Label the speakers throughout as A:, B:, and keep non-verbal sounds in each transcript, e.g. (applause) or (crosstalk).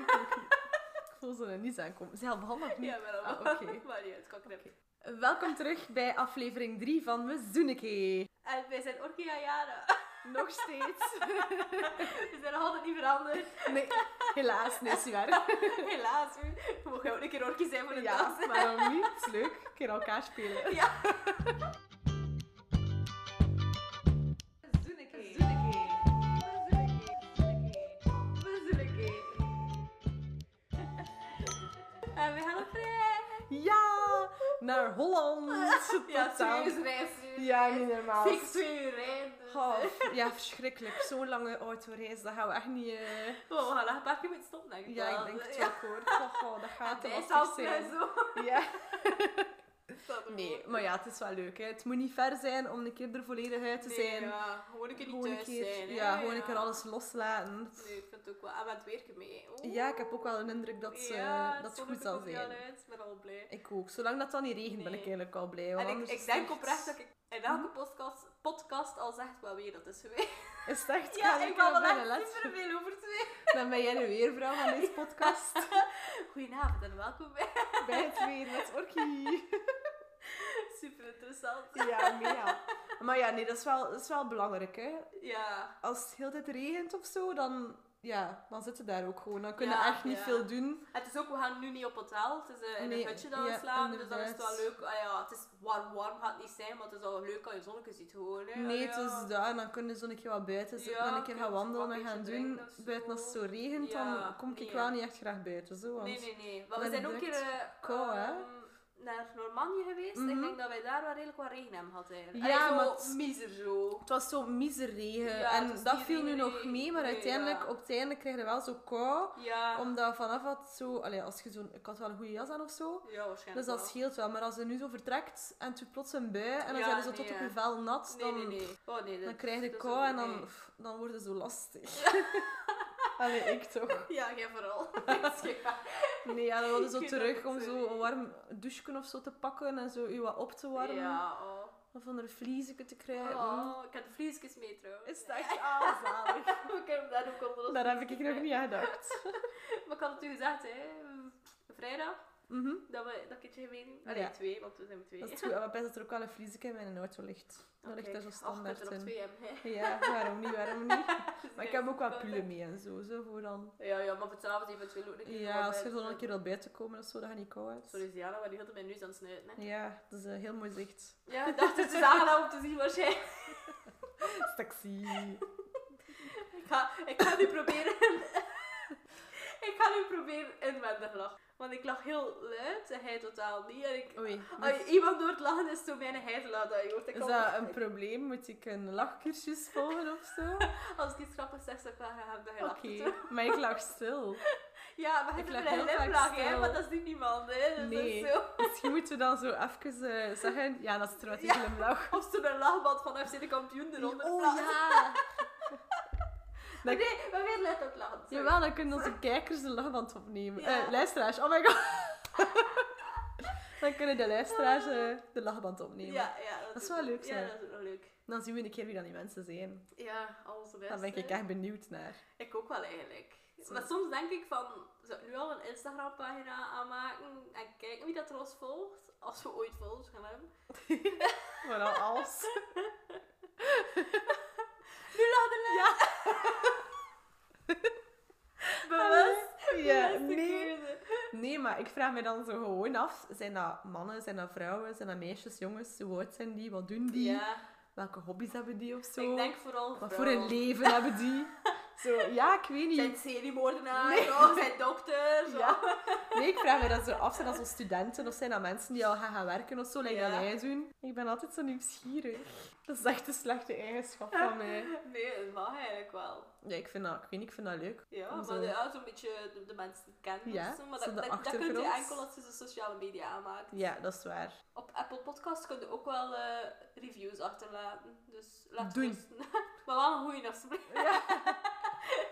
A: Ik voel ze er niet aankomen. Zelf handig niet.
B: Ja, wel.
A: Ah, (laughs)
B: maar-
A: oké.
B: Maar niet, het kan knippen.
A: Welkom terug bij aflevering 3 van We Zoeneke.
B: En wij zijn Orkia jaren.
A: Nog steeds.
B: (laughs) We zijn nog altijd niet veranderd. (laughs)
A: Nee, helaas, nee, is niet waar.
B: Helaas. We mogen ook een keer Orkie zijn voor de
A: Ja,
B: dans.
A: waarom niet? Het is leuk. Een keer elkaar spelen.
B: Ja.
A: Zoeneke.
B: En we gaan op reis.
A: Ja, naar Holland.
B: Ja,
A: Totaal.
B: twee uur reis. twee uur
A: Ja,
B: reis.
A: niet normaal.
B: Fix twee uur rijden. dus.
A: Oh, ja, verschrikkelijk. Zo'n lange autoreis, dat gaan we echt niet... eh,
B: Oh, we gaan nog een paar keer moeten stoppen, denk ik
A: Ja,
B: wel.
A: ik denk het
B: Ja.
A: wel, hoor. Oh, oh, dat gaat te
B: Bij
A: lastig
B: Salzburg
A: zijn.
B: zo.
A: Ja. Nee, maar ja, het is wel leuk. Hè. Het moet niet ver zijn om een keer er volledig uit te
B: Nee,
A: zijn.
B: Ja, gewoon een keer niet
A: gewoon een
B: thuis
A: keer,
B: zijn. hè.
A: ja, gewoon een keer alles loslaten.
B: Nee, ik vind het ook wel. En met werken mee. Oeh.
A: Ja, ik heb ook wel een indruk dat, ze,
B: Ja,
A: dat het
B: zonnetje
A: goed zal
B: komt niet al
A: zijn.
B: uit, Ik ben al blij.
A: Ik ook. Zolang dat dan niet regent, ben ik
B: Nee.
A: eigenlijk al blij. want
B: En ik,
A: anders
B: ik
A: is
B: denk
A: het
B: oprecht dat ik in elke podcast, podcast al zegt wel weer dat is geweest.
A: Is het echt?
B: Ja, ik kan
A: ben
B: wel echt superveel over twee.
A: Dan ben jij de weervrouw van
B: (laughs)
A: deze podcast.
B: Goedenavond en welkom bij.
A: Bij het weer met Orkie.
B: (laughs) Super interessant.
A: Ja, mega. Maar ja, nee, dat is wel, dat is wel belangrijk, hè.
B: Ja.
A: als het heel de tijd regent of zo, dan, ja, dan zitten daar ook gewoon. Dan kunnen
B: Ja,
A: echt niet
B: ja.
A: veel doen.
B: Het is ook, we gaan nu niet op hotel. Het is eh, in
A: Nee,
B: een hutje dat we
A: ja,
B: slaan. Dus dan is het wel
A: inderdaad.
B: leuk. Ah, ja, het is warm, warm gaat het niet zijn, maar het is al leuk als je zonnetje ziet gewoon. Hè.
A: Nee,
B: Ah,
A: het
B: ja.
A: is daar. En dan kunnen ze een keer wat buiten zitten.
B: Ja,
A: dan een keer gaan
B: kunnen ze
A: wandelen
B: wat
A: en gaan
B: beetje
A: doen.
B: drinken of zo.
A: Buiten als het zo regent,
B: Ja,
A: dan kom ik
B: nee,
A: wel
B: ja.
A: niet echt graag buiten. Zo, want...
B: Nee, nee, nee. Maar we
A: Met
B: zijn
A: een
B: ook een keer
A: duct.
B: eh,
A: Kou, hè?
B: ehm, naar Normandië geweest.
A: Mhm.
B: Ik denk dat wij daar wel redelijk wat regen hebben gehad eigenlijk.
A: Ja,
B: Allee,
A: maar
B: zo
A: het-
B: miser zo.
A: Het was zo miser regen.
B: Ja, het
A: en
B: was
A: dat
B: niet
A: viel nu
B: regen,
A: nog mee, maar
B: nee,
A: uiteindelijk,
B: ja.
A: op het einde kreeg je wel zo kou.
B: Ja.
A: Omdat vanaf had zo... Allee, als je zo'n... Ik had wel een goede jas aan of zo.
B: Ja,
A: Dus
B: waarschijnlijk
A: dat
B: wel.
A: scheelt wel. Maar als je nu zo vertrekt en toen plots een bui en dan
B: Ja,
A: zijn ze zo
B: nee,
A: tot op
B: ja.
A: je vel nat,
B: Nee,
A: dan...
B: nee, nee. Oh, nee
A: Dan
B: dat-
A: krijg je
B: dat is
A: kou
B: ook-
A: en dan,
B: nee.
A: pff, dan wordt het zo
B: (laughs)
A: lastig. Allee, ik toch.
B: Ja, jij
A: (laughs)
B: vooral. (laughs) Dat is geen waar.
A: Nee, ja, dan
B: (laughs)
A: wilde zo
B: Ik weet dat
A: terug
B: het,
A: om
B: eh,
A: zo een warm douchen of zo te pakken en zo u wat op te warmen.
B: Ja, oh.
A: Of onder een vliesje te krijgen.
B: oh. Ik heb de vliesjes mee trouwens.
A: hmm. Is dat echt aanzalig?
B: (laughs) We kunnen daar ook onder ons
A: (laughs) Daar heb ik
B: vliesjes
A: nog
B: mee.
A: niet aan
B: (laughs)
A: gedacht.
B: Maar ik had het u gezegd, hè. Vrijdag,
A: Mhm.
B: dat we dat keertje gemeen... Allee,
A: Ja.
B: twee, want we zijn met twee.
A: Dat is goed. En wat best dat er ook wel een vliesje in mijn auto ligt. Dat ligt daar zo standaard
B: er nog
A: in.
B: twee hebben, hè.
A: Ja, waarom niet, waarom
B: (laughs)
A: niet?
B: Dus
A: Maar ik
B: kijk,
A: heb ook wat
B: dat-
A: pullen mee en zo, zo voor dan.
B: Ja, ja, maar voor s'avonds eventueel ook een keer.
A: Ja, als je
B: erbij.
A: zo nog een keer wilt buiten komen of zo, dan ga je niet koud uit.
B: Sorry, Ziana, maar die hield mijn neus aan het snuiten. Hè.
A: Ja, dat is eh, heel mooi zicht.
B: (laughs) Ja, ik dacht, het is aangenaam om te zien waarschijnlijk.
A: Taxi.
B: Ik ga, ik ga nu proberen... (laughs) ik ga nu proberen inwendig lachen. Want ik lach heel luid en hij totaal niet. En ik...
A: Oei.
B: Als je iemand hoort lachen, is het zo mijn heidelaar dat je hoort. Ik
A: Oh, Is
B: kan-
A: dat een probleem? Moet ik een lachcursus volgen of zo?
B: (laughs)
A: Oké,
B: Als ik iets grappigs zeg, dan ga ik dat je lacht.
A: maar ik lach stil.
B: Ja, maar
A: Ik
B: hij hebt
A: lach
B: een
A: heel vaak
B: glimlach,
A: stil.
B: hè. Maar dat is niet niemand, hè. Dus
A: Nee.
B: dat is zo...
A: Misschien moeten we dan zo even eh, zeggen... Ja, dat is trouwens een
B: Ja.
A: glimlach.
B: Of zo'n lachband van FC de kampioen eronder plaatsen.
A: Oh,
B: (laughs)
A: ja!
B: Maar nee, maar weer let ook lachen. sorry.
A: Jawel, dan kunnen onze kijkers de lachband opnemen.
B: Ja.
A: Eh, luisteraars, oh my god! (laughs) dan kunnen de luisteraars eh, de lachband opnemen.
B: Ja, ja,
A: Dat is
B: ook
A: wel
B: nog-
A: leuk,
B: Ja,
A: zeg.
B: dat is ook nog leuk.
A: Dan zien we een keer wie dan die mensen zijn.
B: Ja, alles best.
A: Daar ben ik
B: hè.
A: echt benieuwd naar.
B: Ik ook wel eigenlijk.
A: Zo.
B: Maar soms denk ik van, zou ik nu al een Instagram-pagina aanmaken en kijken wie dat er ons volgt? Als we ooit volgers gaan hebben.
A: Vooral (laughs) als...
B: Nu laat de lijn! Ja!
A: (laughs)
B: Bewust!
A: Ja,
B: bewust de
A: nee.
B: keuze.
A: Nee, maar ik vraag me dan zo gewoon af: zijn dat mannen, zijn dat vrouwen, zijn dat meisjes, jongens? Hoe oud zijn die? Wat doen die?
B: Ja,
A: Welke hobby's hebben die of zo?
B: ik denk vooral
A: Wat voor
B: vrouwen.
A: een leven hebben
B: (laughs)
A: die? Zo, ja, ik weet
B: Zijn
A: niet.
B: seriemoordenaar,
A: Nee.
B: oh, zijn dokter, zo.
A: Ja. Nee, ik vraag me dat zo af: zijn dat zo studenten of zijn dat mensen die al gaan, gaan werken of zo, like
B: Ja.
A: dat wij doen? Ik ben altijd zo nieuwsgierig. Dat is echt een slechte eigenschap van mij.
B: (laughs) Nee, dat mag eigenlijk wel.
A: Ja, ik vind dat, ik weet niet, ik vind dat leuk.
B: Ja,
A: Om
B: maar
A: zo-
B: de- ja, zo'n beetje de, de mensen kennen.
A: Ja,
B: of zo, maar
A: zo
B: dat,
A: de
B: dat, dat kun je
A: achtergrond.
B: enkel als je de sociale media aanmaakt.
A: Ja, dat is waar.
B: Op Apple Podcasts kun je ook wel eh, reviews achterlaten. Dus laat
A: Doen.
B: ons- (laughs) maar wel een goeie, alsjeblieft.
A: Ja.
B: (laughs)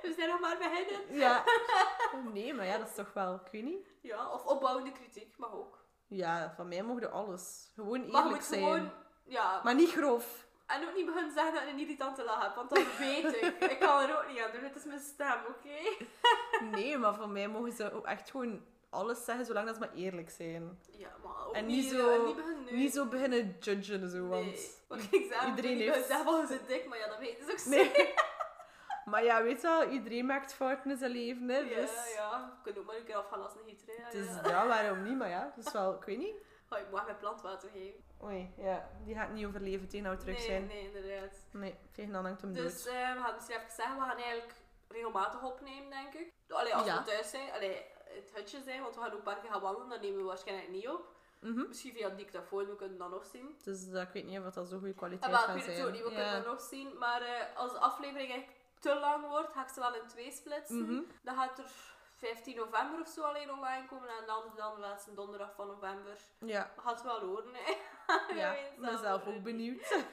B: We zijn nog maar beginnen.
A: Ja. Oh, Nee, maar ja, dat is toch wel, ik weet niet.
B: Ja, of opbouwende kritiek, mag ook.
A: Ja, van mij mogen alles. Gewoon
B: Maar je
A: eerlijk
B: moet
A: zijn.
B: gewoon... Ja,
A: Maar niet grof.
B: En ook niet beginnen zeggen dat ik een irritante lach heb, want dan weet ik.
A: (laughs)
B: Ik kan er ook niet aan doen, het is mijn stem, oké?
A: Nee, maar voor mij mogen ze ook echt gewoon alles zeggen, zolang dat ze maar eerlijk zijn.
B: Ja, maar ook
A: En
B: niet,
A: niet
B: eh,
A: zo-
B: niet beginnen nu.
A: Niet zo beginnen judgen, zo, want...
B: Nee. Want ik zei,
A: iedereen
B: iedereen
A: heeft-
B: heeft... wel ze dik, maar ja, dat weten ze ook
A: (laughs) Nee. maar ja, weet je wel, iedereen maakt fouten in zijn leven, hè,
B: zeker.
A: (laughs) dus...
B: Ja, ja. Ik kan ook maar een keer afgaan als een heter, hè. Ja,
A: Dus
B: ja.
A: ja, waarom niet, maar ja, dus wel, ik weet niet.
B: Oh, ik mag mijn plantwater geven.
A: Oei, ja, die gaat niet overleven tegen nou terug
B: nee,
A: zijn.
B: nee, inderdaad.
A: Nee, tegen dan hangt hem dood.
B: Dus eh, we gaan misschien even zeggen, we gaan eigenlijk regelmatig opnemen, denk ik. Allee, als
A: Ja.
B: we thuis zijn, allee, het hutje zijn, want we gaan ook een paar keer gaan wandelen, dan nemen we waarschijnlijk niet op.
A: Mhm.
B: Misschien via het dictafoon, we kunnen dat nog zien.
A: Dus dat ik weet niet of dat zo'n goede
B: En
A: kwaliteit
B: Ah, wel, ik
A: gaat
B: weet het
A: zijn.
B: ook niet, we kunnen
A: Ja.
B: dat nog zien. Maar eh, als de aflevering echt te lang wordt, ga ik ze wel in twee splitsen.
A: Mhm.
B: Dan gaat er 15 november of zo alleen online komen en dan, dan de laatste donderdag van november. (laughs)
A: Ja,
B: We gaan het wel horen, hè. (laughs) Wie
A: ja.
B: weet
A: Ik
B: zelf
A: ben zelf
B: nog
A: ook
B: niet.
A: benieuwd.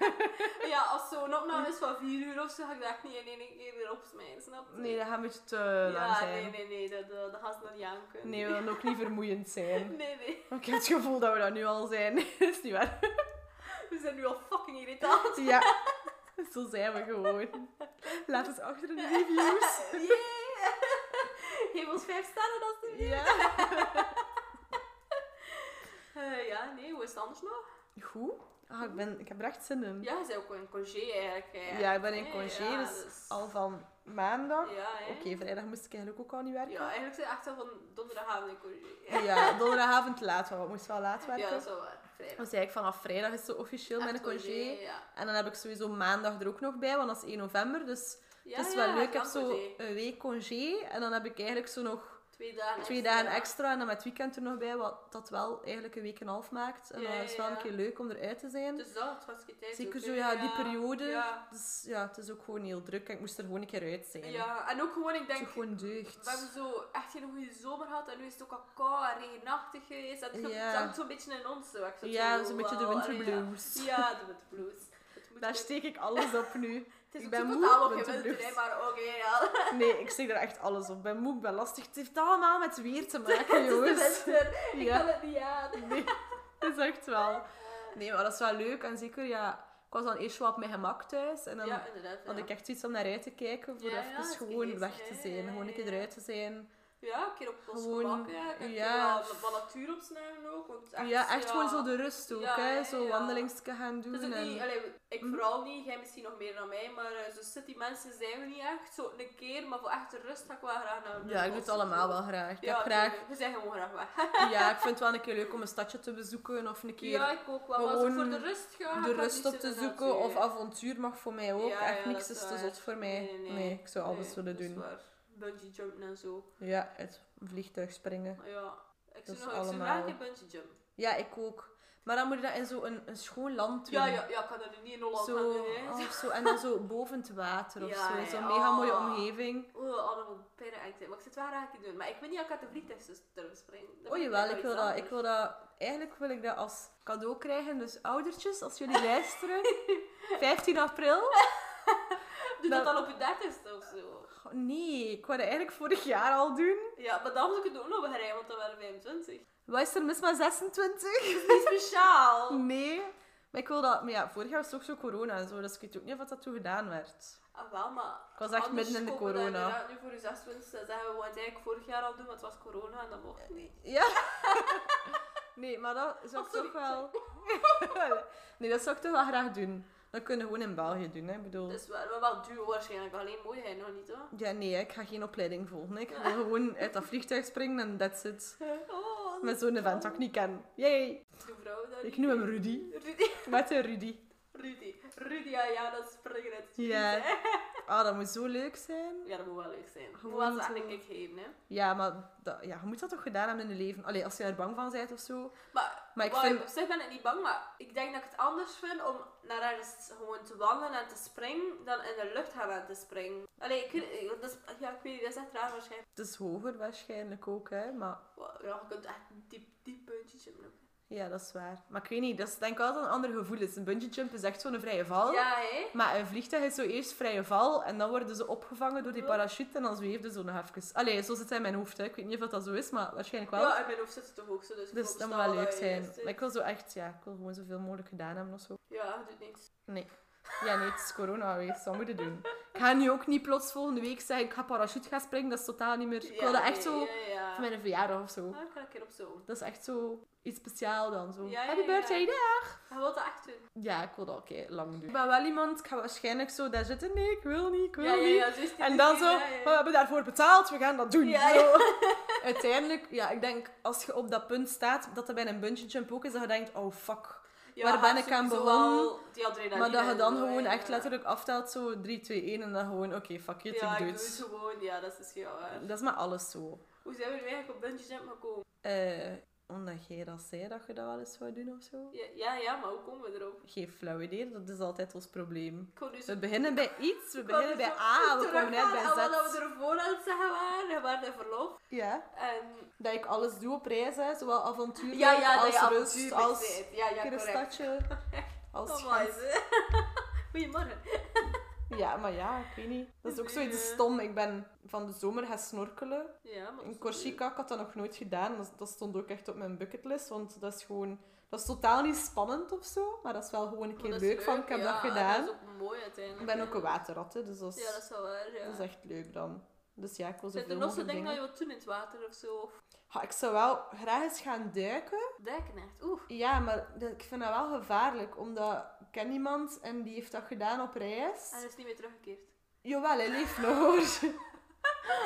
B: Ja, als zo'n opname is van 4 uur of zo, ga ik dat echt niet in één keer erop smijten, snap je?
A: Nee, dat gaat een beetje te lang
B: ja,
A: zijn.
B: nee, nee, nee, dat, dat, dat gaat ze nog niet aan kunnen. (laughs)
A: Nee, we willen ook niet vermoeiend zijn.
B: nee, nee,
A: Ik heb het gevoel dat we dat nu al zijn. (laughs) is niet waar.
B: we zijn nu al fucking irritant. (laughs)
A: Ja, (laughs) zo zijn we gewoon. Laat het achter in de reviews.
B: Yeah! (laughs) Geef ons vijf sterren alsjeblieft.
A: Ja.
B: Eh, ja, nee, hoe is het anders nog?
A: Goed. Ah, ik, ben, ik heb er echt zin in.
B: Ja, ze zijn ook in congé eigenlijk. hè.
A: Ja, ik ben in
B: Eh,
A: congé,
B: ja,
A: dus Al van maandag.
B: Ja, hè.
A: Oké, vrijdag moest ik eigenlijk ook al niet werken.
B: Ja, eigenlijk zijn we echt al van donderdagavond in congé.
A: Ja, donderdagavond laat, want ik moest wel laat werken.
B: Ja, dat is wel waar. Vrijdag.
A: Dus eigenlijk vanaf vrijdag is ze officieel mijn
B: Echt
A: congé.
B: Ja.
A: En dan heb ik sowieso maandag er ook nog bij, want dat is 1 november. Dus
B: Ja,
A: het is
B: ja,
A: wel leuk. Ik heb
B: lang
A: zo
B: congé.
A: een week congé. En dan heb ik eigenlijk zo nog
B: Twee dagen
A: twee dagen extra. En dan met het weekend er nog bij, wat dat wel eigenlijk een week en een half maakt. En
B: Ja,
A: dan is het wel een
B: ja.
A: keer leuk om eruit te zijn.
B: Dus dat, het was geen tijd
A: Zeker
B: ook,
A: zo,
B: hè.
A: ja, die periode.
B: Ja.
A: Dus ja, het is ook gewoon heel druk. En ik moest er gewoon een keer uit zijn.
B: ja, en ook gewoon, ik
A: Het is
B: denk,
A: ook gewoon
B: We hebben
A: deugd.
B: zo echt geen goede zomer gehad en nu is het ook al koud en regenachtig geweest. En het ge-
A: Ja.
B: het hangt zo'n beetje in ons. Zo. Ik zat
A: Ja,
B: zo,
A: zo'n beetje de
B: wel, allee,
A: winterblues.
B: Ja, ja de winterblues. Het moet
A: Daar
B: weer-
A: steek ik alles op nu.
B: het is
A: ik
B: ook
A: ben
B: zo
A: moe,
B: totaal op je
A: winterblues.
B: winter, hè, maar oké, ja.
A: Nee, ik steek daar echt alles op. Ik ben moe, ik ben lastig. Het heeft allemaal met weer te maken,
B: (laughs) Het
A: jongens.
B: is de winter, ik
A: Ja.
B: kan het niet aan.
A: (laughs) Nee, dat is echt wel. Nee, maar dat is wel leuk. En zeker, ja, ik was dan eerst wel op mijn gemak thuis. En dan
B: ja, inderdaad.
A: had
B: ja.
A: ik echt iets om naar uit te kijken. Voor
B: Ja,
A: even
B: ja, het is
A: gewoon
B: geest,
A: weg te
B: ja,
A: zijn.
B: ja, ja,
A: Gewoon een keer
B: ja.
A: eruit te zijn.
B: Ja, een keer op ons
A: Gewoon,
B: gemak, ja. Ik heb
A: ja.
B: wel wat- wat natuur opsnuiven ook. Want echt,
A: ja, echt gewoon zo de rust ook.
B: Ja,
A: hè.
B: ja,
A: Zo
B: ja.
A: wandelingstjes gaan doen.
B: Het is ook
A: en...
B: niet, allee, Dus ik
A: Mhm.
B: vooral niet, jij misschien nog meer dan mij, maar eh, zo city mensen zijn we niet echt. Zo een keer, maar voor echt de rust ga ik wel graag naar
A: Ja, ik doe het allemaal wel graag. Ik
B: Ja,
A: heb
B: (laughs)
A: graag...
B: tuurlijk. We zijn gewoon graag weg. (laughs)
A: Ja, ik vind het wel een keer leuk om een stadje te bezoeken of een keer...
B: Ja, ik ook wel. Maar als ik
A: gewoon
B: voor de rust ga,
A: de rust op te zoeken of avontuur mag voor mij ook.
B: Ja,
A: Echt
B: ja,
A: niks
B: dat
A: is
B: is
A: te
B: waar.
A: zot voor mij.
B: Nee, nee, nee.
A: ik zou alles willen doen.
B: Bungee jumpen en zo.
A: Ja, uit een vliegtuig springen.
B: Maar ja, ik
A: Dat
B: zou
A: is
B: nog ik zou
A: allemaal.
B: graag een bungee jumpen.
A: Ja, ik ook. Maar dan moet je dat in zo'n een, een schoon land doen.
B: Ja, ja, ja, ik kan dat nu niet in Holland gaan
A: Zo, Oh.
B: doen. hè.
A: of zo, en dan
B: (laughs)
A: zo boven het water of
B: Ja,
A: zo.
B: ja,
A: Zo'n mega mooie
B: oh.
A: omgeving.
B: Oh, allemaal perren en Maar ik zit wel graag in doen. Maar ik weet niet of ik uit de vliegtuig zou durven springen. Dat
A: Oh
B: vind
A: jawel,
B: wel
A: ik wil
B: iets
A: dat, ik
B: anders.
A: wil dat... Eigenlijk wil ik dat als cadeau krijgen. Dus oudertjes, als jullie
B: (laughs)
A: luisteren. 15 april.
B: Doe dat
A: dat-
B: dan op je dertigste of zo.
A: Goh, Nee, ik wou dat eigenlijk vorig jaar al doen.
B: Ja, maar dan moet ik het ook nog begrijpen, want dan waren we 25.
A: (laughs) Wat is er mis met 26?
B: Dat is niet speciaal.
A: Nee. Maar ik wil dat... Maar ja, vorig jaar was het ook zo corona en zo. Dus ik weet ook niet of dat toen gedaan werd.
B: Ah, wel, maar...
A: Ik was echt
B: anders
A: midden in de
B: kopen we dat
A: corona.
B: inderdaad Nu voor je 26 dat hebben we het eigenlijk vorig jaar al doen, want het was corona en dat mocht niet.
A: Ja. Nee, maar dat zou
B: Oh,
A: ik
B: sorry,
A: toch wel... (laughs) nee, dat zou ik toch wel graag doen. Dat kunnen we gewoon in België doen, hè. Ik bedoel...
B: Dus we hebben wel duur waarschijnlijk, alleen mooi hij nog niet hoor.
A: Ja, nee, ik ga geen opleiding volgen. hè. Ik wil gewoon uit dat vliegtuig springen en that's it.
B: Oh,
A: Met zo'n event dat ik niet ken. Yay!
B: de vrouw dat
A: Ik
B: niet-
A: noem hem Rudy.
B: Rudy, (laughs)
A: Met een Rudy.
B: Rudy, Rudy, ja, ja, dat springen uit het vliegtuig.
A: Ja. Ah, dat moet zo leuk zijn.
B: Ja, dat moet wel leuk zijn. Moet
A: Gewoon
B: wel
A: zo.
B: eigenlijk ik geven, hè.
A: Ja, maar dat, ja, je moet dat toch gedaan hebben in je leven. Allee, als je er bang van bent of zo.
B: Maar,
A: Maar ik
B: wauw,
A: vind-
B: op zich ben ik niet bang, maar ik denk dat ik het anders vind om naar ergens gewoon te wandelen en te springen, dan in de lucht gaan en te springen. Allee, ik, weet- dat is, ja, ik weet niet, dat is echt raar waarschijnlijk.
A: Het is hoger waarschijnlijk ook, hè. Maar
B: Wow, ja, je kunt echt diep, diep puntje jumpen.
A: ja, dat is waar. Maar ik weet niet, dat is denk ik altijd een ander gevoel. is. Een bungee jump is echt zo'n vrije val.
B: Ja, hè?
A: Maar een vliegtuig is zo eerst vrije val. En dan worden ze opgevangen door die parachute. En dan zweefden ze nog even. Allee, zo zit hij in mijn hoofd, hè. Ik weet niet of dat zo is, maar waarschijnlijk wel.
B: Ja, en mijn hoofd zit er toch ook zo, dus, ik
A: Dus dat moet
B: veronderstel
A: wel leuk
B: je
A: zijn.
B: eerst-
A: Maar ik wil zo echt, ja, ik wil gewoon zoveel mogelijk gedaan hebben of zo.
B: Ja, dat doet niks.
A: Nee. Ja, nee, het is corona geweest. Wat moet je doen? Ik ga nu ook niet plots volgende week zeggen, ik ga parachute gaan springen. Dat is totaal niet meer... Dus Ik wil dat
B: Ja,
A: echt zo
B: Ja, ja.
A: voor mijn verjaardag of zo.
B: Ah, ik ga een keer op zo'n.
A: Dat is echt zo iets speciaal dan. Zo.
B: Ja, ja,
A: Happy
B: ja.
A: birthday, dag!
B: Hij wil dat echt doen.
A: Ja, ik wil dat ook heel lang doen. Ik ben wel iemand, ik ga waarschijnlijk zo daar zitten. Nee, ik wil niet, ik wil
B: Ja, ja,
A: niet.
B: ja, zo is het
A: En
B: in
A: dan
B: het
A: zo, "Oh,
B: leven, ja, ja.
A: we hebben daarvoor betaald, we gaan dat doen.
B: Ja,
A: Zo.
B: ja.
A: (laughs) Uiteindelijk, ja, ik denk als je op dat punt staat, dat er bij een bungee jump ook is, dat je denkt, oh fuck.
B: Ja,
A: Waar ben
B: hij
A: ik aan
B: sowieso
A: begonnen?
B: al die adrenaline
A: maar dat je
B: en
A: dan
B: zo,
A: gewoon
B: ja.
A: echt letterlijk aftelt, zo 3, 2, 1 en dan gewoon, oké, fuck it, ik
B: Ja, ik
A: doe
B: doe het
A: het.
B: gewoon. Ja, dat is ja. waar.
A: Dat is met alles zo.
B: Hoe zijn we nu eigenlijk op bungee jump gekomen?
A: Eh, omdat jij dat zei dat je dat wel eens zou doen of zo.
B: Ja, ja, ja, maar hoe komen we erop?
A: Geen flauw idee, dat is altijd ons probleem.
B: Ik wou dus...
A: We beginnen bij iets, we
B: ik wou
A: beginnen
B: dus
A: bij
B: ook
A: A, we komen net
B: teruggaan
A: bij
B: aan wat
A: Z.
B: we ervoor aan het zeggen waren. We waren in verlof.
A: Ja,
B: En...
A: dat ik alles doe op reis, hè. zowel avontuur
B: Ja, ja, dat
A: als
B: je
A: rust,
B: avontuurlijk
A: als
B: bent. Ja, ja,
A: keer een
B: correct. (laughs)
A: stadje, als
B: Oh,
A: gans.
B: mooi, (laughs) hè. Goedemorgen.
A: Ja, maar ja, ik weet niet. Dat is ook zoiets stom. Ik ben van de zomer gaan snorkelen.
B: Ja, maar...
A: In Corsica, ik had dat nog nooit gedaan. Dat, dat stond ook echt op mijn bucketlist. Want dat is gewoon... Dat is totaal niet spannend of zo. Maar dat is wel gewoon een keer
B: Maar Oh, dat
A: leuk,
B: is
A: van, ik heb
B: ja,
A: dat gedaan.
B: dat is ook mooi uiteindelijk.
A: Ik ben ook
B: hè.
A: een waterrat, hè, dus dat is,
B: Ja, dat is wel waar, ja.
A: dat is echt leuk dan. Dus ja, ik wil
B: Zijn er
A: zoveel
B: nog zo
A: mogelijk
B: dingen
A: dingen.
B: dat je wilt doen in het water of zo? Of
A: Ha, ik zou wel graag eens gaan duiken.
B: dijken echt? Oeh.
A: Ja, maar dat- ik vind dat wel gevaarlijk. Omdat ik ken iemand en die heeft dat gedaan op reis.
B: En dat is niet meer teruggekeerd.
A: Jawel, hij leeft nog hoor. (laughs)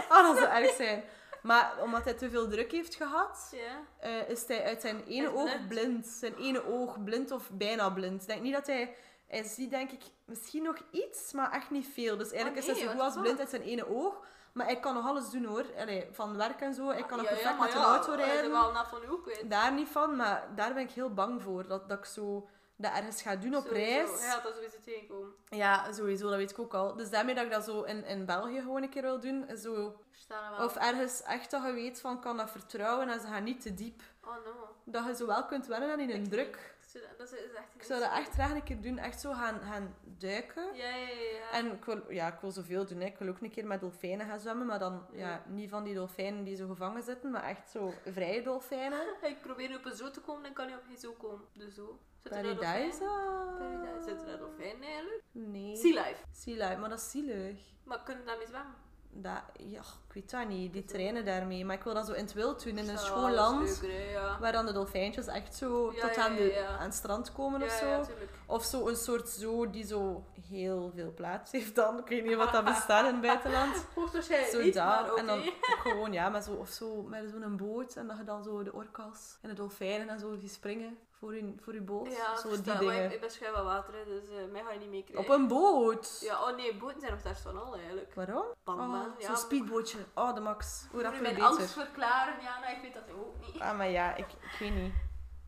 A: Ah, dat zou erg zijn. Maar omdat hij te veel druk heeft gehad,
B: Ja.
A: eh, is hij uit zijn ene
B: Hij is
A: oog
B: blind.
A: blind. Zijn ene oog blind of bijna blind. Ik denk niet dat hij... Hij ziet denk ik misschien nog iets, maar echt niet veel. Dus eigenlijk
B: Oh, nee,
A: is hij zo
B: what
A: goed als
B: the
A: blind
B: fuck?
A: uit zijn ene oog. Maar hij kan nog alles doen hoor. Allee, van werk en zo. Hij kan nog perfect
B: Ah, maar
A: met een auto
B: Hij is
A: rijden.
B: wel nat van uw kwijt.
A: Daar niet van, maar daar ben ik heel bang voor. Dat, dat ik zo dat ergens ga doen op
B: Sowieso.
A: reis.
B: Ja, dat is sowieso tegenkomen.
A: Ja, sowieso, dat weet ik ook al. Dus daarmee dat ik dat zo in, in België gewoon een keer wil doen. Zo.
B: Verstaan we wel.
A: Of ergens echt dat je weet van, ik kan dat vertrouwen en ze gaan niet te diep.
B: Oh no.
A: Dat je zo wel kunt wennen aan in
B: Ik
A: een
B: niet.
A: druk.
B: Ik zou dat- Dat is echt
A: Ik zou dat echt graag een keer doen, echt zo gaan, gaan duiken.
B: Ja, ja, ja. ja.
A: En ik wil, ja, ik wil zoveel doen. hè. Ik wil ook een keer met dolfijnen gaan zwemmen, maar dan
B: Ja.
A: ja, niet van die dolfijnen die zo gevangen zitten, maar echt zo vrije dolfijnen.
B: Ik probeer nu op een zoo te komen, dan kan je op geen zoo komen. De zoo. Zit er daar
A: Paradise?
B: dolfijnen? Paradise. Zit er daar dolfijnen eigenlijk?
A: Nee.
B: Sea life.
A: Zielig, maar dat is zielig.
B: Maar kunnen daarmee zwemmen?
A: Dat, ja, ik weet dat niet. Die trainen daarmee. Maar ik wil dat zo in het wild doen, in een
B: Zou
A: schoon
B: wel eens
A: land.
B: leuker, hè, ja.
A: Waar dan de dolfijntjes echt zo
B: Ja,
A: tot
B: ja,
A: aan, de,
B: ja, ja.
A: aan het strand komen of
B: Ja,
A: zo.
B: ja, tuurlijk.
A: Of zo een soort zoo die zo heel veel plaats heeft dan. Ik weet niet wat dat bestaat in het
B: (laughs)
A: buitenland.
B: Hoogstwaarschijnlijk
A: Zo
B: niet,
A: daar.
B: maar oké.
A: En dan ook gewoon, ja, maar zo, of zo met zo'n boot. En dat je dan zo de orka's en de dolfijnen en zo die springen voor je, voor je boot.
B: Ja,
A: zo die
B: verstaan, maar
A: dingen.
B: ik, ik ben schijn van water, hè, dus eh, mij ga je niet meekrijgen.
A: Op een boot?
B: Ja, oh nee, boten zijn nog daar van al eigenlijk.
A: Waarom?
B: Bang, man.
A: Oh,
B: ja,
A: Zo'n speedbootje. Oh, de max. Hoe
B: Moet
A: dat
B: je
A: veel
B: mijn
A: beter.
B: angst verklaren? Ja, nou, ik weet dat ook niet.
A: Ah, maar ja, ik, ik weet niet.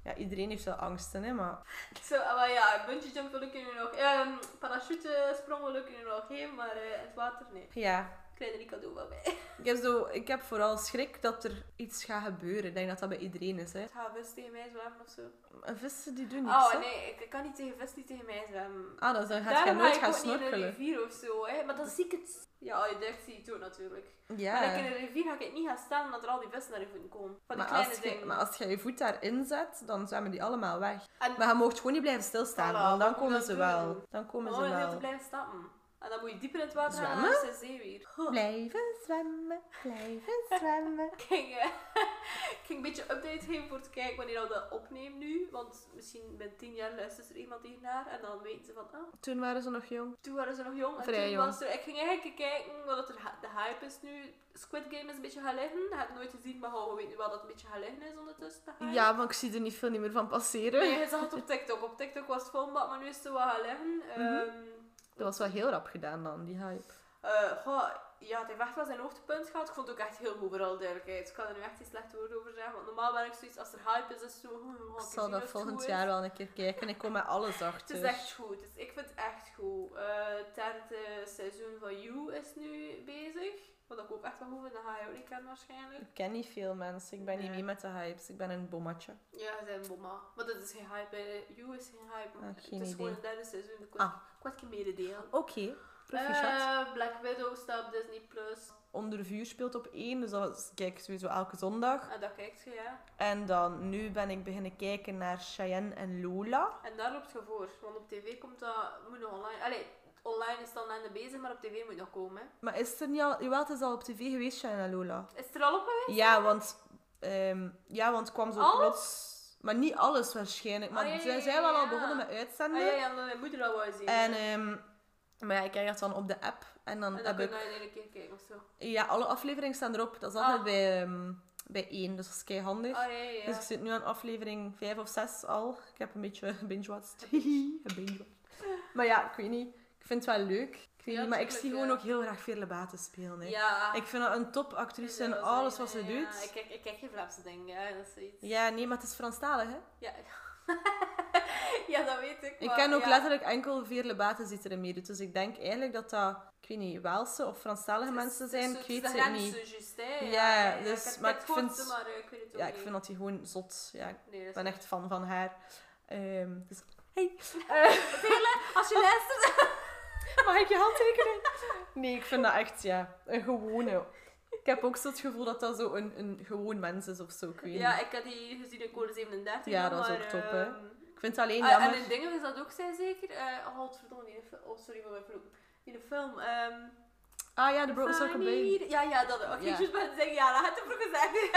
A: Ja, iedereen heeft wel angsten, hè, maar...
B: Zo, maar ja, bungee jump wil ik nu nog. ehm parachute sprong wil ik nu nog heen, maar eh, het water, nee.
A: Ja.
B: Ik krijg er niet cadeau van bij.
A: Ik heb, zo, ik heb vooral schrik dat er iets gaat gebeuren. Ik denk dat dat bij iedereen is, hè.
B: Het gaat vis tegen mij zwemmen of zo.
A: En vissen, die doen niks,
B: Oh
A: hè.
B: nee, ik ik kan niet tegen vis, niet tegen mij zwemmen.
A: Ah, dan gaat
B: Daarom
A: je nooit
B: ga
A: gaan
B: ik ook niet in een
A: snorkelen.
B: rivier of zo, hè. Maar dan zie ik het... Ja, je duikt zie je het ook natuurlijk.
A: Ja.
B: Maar dan in een rivier ga ik het niet gaan staan omdat er al die vissen naar je voeten komen. Van die
A: Maar
B: kleine
A: als, je,
B: dingen.
A: maar als je je voet daarin zet, dan zwemmen die allemaal weg.
B: En
A: Maar je mag gewoon niet blijven stilstaan,
B: Voilà,
A: want dan
B: wat moet
A: komen
B: dat
A: ze
B: doen?
A: wel. Dan komen ze
B: gewoon heel te
A: wel.
B: blijven stappen. En dan moet je dieper in het water gaan en
A: Zwemmen?
B: dan is de zee weer.
A: Oh. Blijven zwemmen, (laughs) blijven zwemmen.
B: Ik ging, eh, (laughs) ik ging een beetje update geven voor te kijken wanneer dat we opnemen nu. Want misschien binnen tien jaar luistert er iemand hiernaar en dan weten ze van, ah,
A: Toen waren ze nog jong.
B: toen waren ze nog jong. En
A: Vrij
B: toen
A: jong.
B: Was er, ik ging eigenlijk kijken wat dat er ha- de hype is nu. Squid Game is een beetje gaan liggen. Ik heb het nooit gezien, maar we weten nu wel dat het een beetje gaan liggen is ondertussen. de hype.
A: Ja, maar ik zie er niet veel niet meer van passeren.
B: Ah, Nee, je zag het op TikTok. Op TikTok was het vol, maar nu is het wel gaan liggen.
A: Mhm.
B: Ehm,
A: Dat was wel heel rap gedaan dan, die hype.
B: Eh, goh, ja, het heeft echt wel zijn hoogtepunt gehad. Ik vond het ook echt heel goed, vooral duidelijkheid. Ik kan er nu echt iets slecht woord over zeggen, want normaal ben ik zoiets als er hype is, is het zo... hm, we gaan
A: Ik
B: eens
A: zal
B: zien of
A: dat
B: het
A: volgend
B: goed
A: jaar
B: is.
A: wel een keer kijken. Ik kom met alles
B: Het is
A: achter.
B: echt goed. Dus ik vind het echt goed. Eh, het derde seizoen van You is nu bezig. Wat ik ook echt wel goed vind, dat ga je ook niet kennen waarschijnlijk.
A: Ik ken niet veel mensen. Ik ben niet
B: Nee.
A: mee met de hypes. Ik ben een bommetje.
B: Ja, ze zijn bomma. Maar dat is geen hype. hè. You is geen hype.
A: Ah,
B: het
A: geen
B: is gewoon
A: idee.
B: het derde seizoen. Ik
A: Ah.
B: kwart keer mededelen.
A: Oké. Profi chat.
B: Eh, Black Widow staat op Disney+. Plus.
A: Onder vuur speelt op één, dus dat kijk ik sowieso elke zondag.
B: En Ah, dat kijkt je, ja.
A: En dan, nu ben ik beginnen kijken naar Cheyenne en Lola.
B: En daar loopt je voor. Want op tv komt dat... Moet nog online... Allee, online is het al aan bezig, maar op tv moet nog komen. hè.
A: Maar is het er niet al... Jawel, het is al op tv geweest, Cheyenne en Lola.
B: Is het er al op geweest?
A: Ja, want... ehm, ja, want het kwam zo
B: Alles?
A: plots... Maar niet alles waarschijnlijk. Maar
B: Ah, ja, ja,
A: zij
B: ja,
A: zijn wel al
B: ja.
A: begonnen met
B: Ah,
A: uitzenden.
B: ja, ja, mijn moeder al wou zien.
A: En... ehm, maar ja, ik krijg dat dan op de app. En dan
B: En dan
A: heb ik...
B: kun je in één keer kijken of zo.
A: Ja, alle afleveringen staan erop. Dat is altijd
B: Ah.
A: bij, ehm, bij één, dus dat is kei handig.
B: Ah, ja, ja, ja.
A: Dus ik zit nu aan aflevering 5 of 6 al. Ik heb een beetje binge-watched. (laughs) binge maar ja, ik weet niet. Ik vind het wel leuk. Ik weet
B: Ja,
A: niet, maar ik
B: tuurlijk,
A: zie
B: ja.
A: gewoon ook heel graag Veerle Baten spelen. Hè.
B: Ja. Dus
A: Ik vind haar een topactrice in alles wat ze
B: Ja, ja, Ik
A: doet.
B: kijk, ik kijk geen Vlaamse dingen, ja, dat is zoiets. Ja,
A: Ja, nee, maar het is Franstalig, hè?
B: ja. (laughs) dat weet ik.
A: Ik
B: maar
A: ken ook
B: ja.
A: letterlijk enkel Veerle Baten die erin meedoet. Dus ik denk eigenlijk dat dat, ik weet niet, Waalse of Franstalige mensen zijn. Ik weet het niet. Ja, dus- maar ik vind-
B: eh,
A: Ja, ik vind dat die gewoon zot. Ja, ik
B: Nee, dat is
A: ben
B: niet.
A: echt fan van haar. Ehm, dus
B: (laughs)
A: (laughs)
B: Als je luistert... (laughs)
A: Mag ik je handtekening? Nee, ik vind dat echt, ja, een gewone. Ik heb ook zo het gevoel dat dat zo een, een gewoon mens is of zo, ik weet
B: Ja,
A: niet.
B: ik had die gezien in code 37.
A: Ja,
B: dan,
A: dat is
B: maar,
A: ook top, hè.
B: ehm,
A: Ik vind het alleen
B: ah,
A: jammer.
B: en in dingen is dat ook zij zeker. Eh oh, godverdomme, die film. Oh, sorry voor mijn vloek. Die de film. ehm
A: Ah ja, de Broken Circle Bay.
B: Ja, ja, dat. Oké,
A: Ja. dus
B: ik just ben zeggen, ja, dat had ik vroeger gezegd.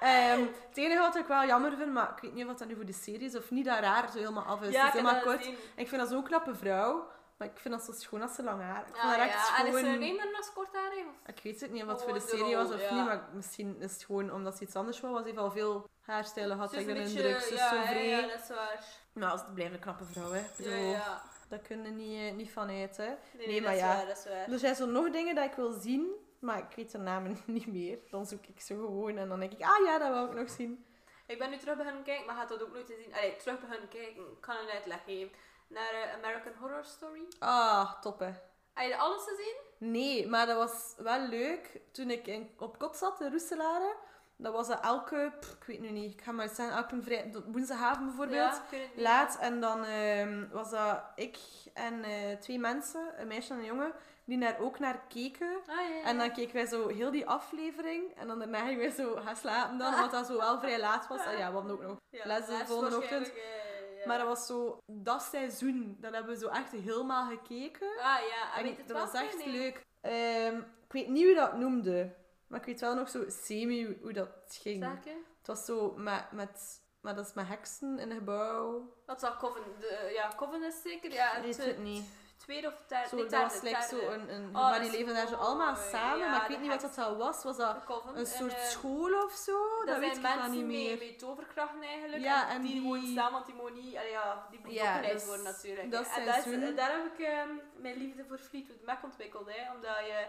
A: Ehm, het enige wat ik wel jammer vind, maar ik weet niet of dat nu voor de serie is of niet, dat raar zo helemaal af is.
B: Ja,
A: het is
B: ik heb
A: helemaal
B: dat
A: kort.
B: gezien.
A: Ik vind dat zo'n knappe vrouw, maar ik vind dat zo schoon als ze lang haar. Ik vind
B: Ah,
A: dat echt
B: ja. En is
A: gewoon...
B: er een dan als kort haar? heeft?
A: Ik weet het niet of het voor
B: Gewoon
A: de
B: de
A: serie was
B: rol,
A: of
B: ja.
A: niet, maar misschien is het gewoon omdat ze iets anders wou. Want ze heeft al veel haarstijlen gehad,
B: Ze
A: ik
B: is
A: ben
B: een
A: een
B: beetje-
A: druk, ze is
B: ja,
A: zo
B: ja,
A: vrij.
B: Ja, dat is waar.
A: Maar als het blijft een knappe vrouw, hè. Ik
B: Ja,
A: bedoel,
B: ja.
A: Dat kunnen we niet, eh, niet van uit, hè.
B: Nee,
A: Nee,
B: nee,
A: maar
B: dat is
A: ja.
B: waar, dat is waar.
A: Er zijn zo nog dingen dat ik wil zien, maar ik weet de namen (laughs) niet meer. Dan zoek ik ze gewoon en dan denk ik, ah ja, dat wil ik nog zien.
B: Ik ben nu terug beginnen kijken, maar gaat dat ook nooit te zien. Allee, terug beginnen kijken, ik kan een uitleg geven. Naar eh, American Horror Story.
A: Ah, top, hè.
B: Heb je alles gezien?
A: Nee, maar dat was wel leuk. Toen ik in, op kot zat in Roeselare, dat was dat elke, pff, ik weet nu niet, ik ga maar zeggen, elke vrij, woensdagavond bijvoorbeeld.
B: Ja, ik weet het niet.
A: Laat en dan ehm, was dat ik en eh, twee mensen, een meisje en een jongen, die daar ook naar keken.
B: Ah, ja, ja, ja.
A: En dan keken wij zo heel die aflevering. En dan daarna gingen wij zo gaan slapen dan, omdat dat zo wel vrij laat was. En ja, we hadden ook nog.
B: ja,
A: les de
B: les
A: volgende ochtend.
B: waarschijnlijk, eh, ja.
A: Maar dat was zo, dat seizoen, dat hebben we zo echt helemaal gekeken.
B: Ah ja, en
A: En
B: weet het
A: dat
B: wel,
A: was echt
B: nee?
A: leuk. Ehm, ik weet niet hoe dat noemde. Maar ik weet wel nog zo semi hoe- hoe dat ging.
B: Zaken?
A: Het was zo met, met, maar dat is met heksen in een gebouw.
B: Dat zal Coven, de, ja, Coven is zeker. Ja,
A: Ik weet
B: het, eh,
A: het niet.
B: tweede of derde.
A: Zo,
B: nee,
A: dat
B: derde,
A: was like
B: derde.
A: zo een, een
B: Oh,
A: maar
B: dat
A: die
B: is
A: leven daar zo
B: mooi.
A: allemaal samen.
B: Ja,
A: maar ik weet
B: de
A: niet wat dat
B: heks.
A: dan was. Was dat
B: De Coven.
A: een soort
B: en, eh,
A: school of zo? Dat,
B: Dat,
A: weet
B: zijn
A: ik dan
B: mensen
A: niet meer.
B: Mee, met overkrachten eigenlijk.
A: Ja,
B: en,
A: en
B: die,
A: die-
B: wonen samen, want die mogen niet... allee, ja, die moeten
A: Ja,
B: opgeleid
A: dus
B: worden natuurlijk.
A: dat
B: en is-
A: seizoen-
B: daar heb ik ehm, mijn liefde voor Fleetwood Mac ontwikkeld. Hè, omdat je...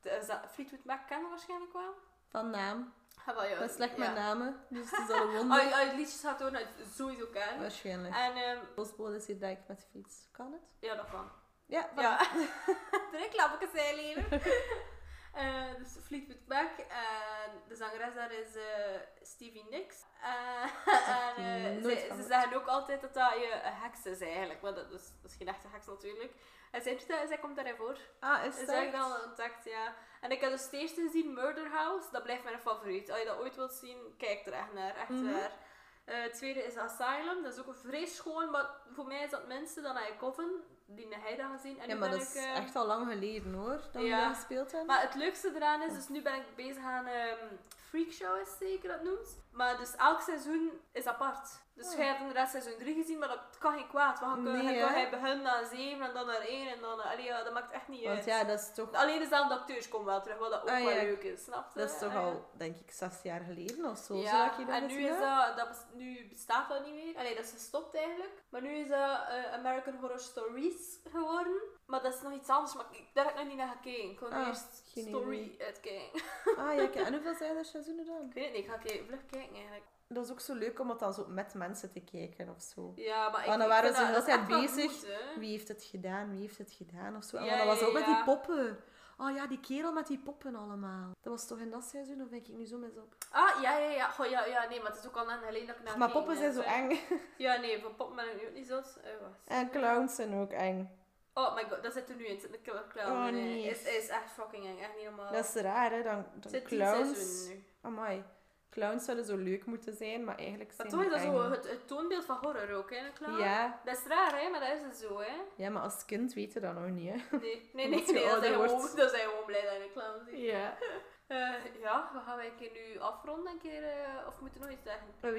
B: de- is dat- Fleetwood Mac kennen waarschijnlijk wel.
A: Van naam.
B: Ah, wel, ja,
A: Dat is slecht
B: ja. Oh,
A: met namen. Dus het is
B: (laughs)
A: al een wonder.
B: Als je- als je het liedjes gaat horen, dat je het nou, sowieso kennen.
A: Waarschijnlijk.
B: En ehm,
A: Postbode is hier direct met de fiets. Kan het?
B: ja, dat kan.
A: Ja, voilà.
B: Ja, de reclamekens zijn
A: (laughs)
B: leven. Eh, dus Fleetwood Mac en de zangeres daar is eh, Stevie Nicks. Eh, (laughs) en eh,
A: nooit van
B: ze, ze
A: gehoord.
B: zeggen ook altijd dat dat je een heks is eigenlijk, maar dat is, dat is geen echte heks natuurlijk. En zij, doet dat- zij komt daarin voor.
A: Ah, is
B: Dat is
A: het?
B: eigenlijk al intact, ja. En ik heb dus het eerste gezien Murder House, dat blijft mijn favoriet. Als je dat ooit wilt zien, kijk er echt naar, echt
A: Mhm.
B: waar. Eh, het tweede is Asylum, dat is ook een vrees schoon, maar voor mij is dat het minste dan I Coven, die heb jij dat gezien. En
A: Ja,
B: nu
A: maar
B: ben
A: dat is
B: ik, eh,
A: echt al lang geleden hoor, dat we
B: ja.
A: daar gespeeld hebben.
B: maar het leukste eraan is, dus nu ben ik bezig aan ehm Freak Show, is zeker dat noemt. Maar dus elk seizoen is apart. Dus
A: Oh.
B: jij hebt inderdaad seizoen 3 gezien, maar dat kan geen kwaad. Want je
A: Nee,
B: kan- je
A: hè?
B: kan hij beginnen naar 7 en dan naar 1 en dan... naar- Allee, ja, dat maakt echt niet
A: Want
B: uit.
A: ja, dat is toch,
B: Alleen dezelfde acteurs komen wel terug, wat dat ook
A: Ah,
B: wel
A: ja.
B: leuk is, snap je?
A: dat is toch
B: Ah, ja.
A: al, denk ik, zes jaar geleden of zo.
B: Ja,
A: zodat je dat
B: en nu,
A: gezien
B: is
A: hebt.
B: dat, dat bes- nu bestaat dat niet meer. Allee, dat is gestopt eigenlijk. Maar nu is dat eh, American Horror Stories geworden. Maar dat is nog iets anders, maar ik, daar heb ik nog niet naar gekeken. Ik wil nu
A: Ah,
B: eerst
A: geen
B: Story
A: idee.
B: uitkijken.
A: Ah ja, kijk, en hoeveel zijn er seizoenen dan?
B: (laughs) Ik weet het niet, ik ga kijken, vlug kijken eigenlijk.
A: Dat is ook zo leuk om het dan zo met mensen te kijken of zo.
B: Ja, maar ik
A: Want Oh, dan
B: ik
A: waren
B: vind
A: ze
B: dat-
A: heel
B: dat is
A: tijd
B: echt wel
A: bezig.
B: goed, hè.
A: Wie heeft het gedaan? Wie heeft het gedaan? Of zo. En
B: Ja,
A: dat was
B: ja,
A: ook met die
B: ja.
A: poppen. Oh ja, die kerel met die poppen allemaal. Dat was toch in dat seizoen? Of denk ik nu zo mis op?
B: Ah, ja, ja, ja. Goh, ja, ja, nee, maar het is ook al lang geleden dat ik naar
A: maar
B: gekeken
A: poppen zijn zo
B: heb, hè.
A: eng.
B: Ja, nee, van poppen ben ik nu ook niet zo. eh, Oh, wacht.
A: En clowns zijn ook eng.
B: Oh my god, dat zit er nu in. Zit een kla- clown
A: Oh,
B: in, hè.
A: nee.
B: Is, is echt fucking eng. Echt niet normaal.
A: Dat is raar, hè? Dan,
B: Er
A: dan
B: zit tien
A: clowns.
B: seizoenen nu.
A: Amai. Clowns zouden zo leuk moeten zijn, maar eigenlijk zijn
B: Maar toch is
A: die
B: dat
A: eng.
B: zo het, het toonbeeld van horror ook, hè, een clown?
A: Ja,
B: Dat is raar, hè, maar dat is het zo, hè.
A: ja, maar als kind weten we dat nog niet, hè? (laughs)
B: Nee, nee, nee,
A: Omdat je
B: nee, dat,
A: ouder
B: zijn gewoon,
A: wordt.
B: dat zijn gewoon blij dat je een clown ziet.
A: Ja.
B: Eh, ja, we gaan wij een keer nu afronden, een keer, eh, of moeten we nog iets zeggen?
A: We gaan
B: Oh,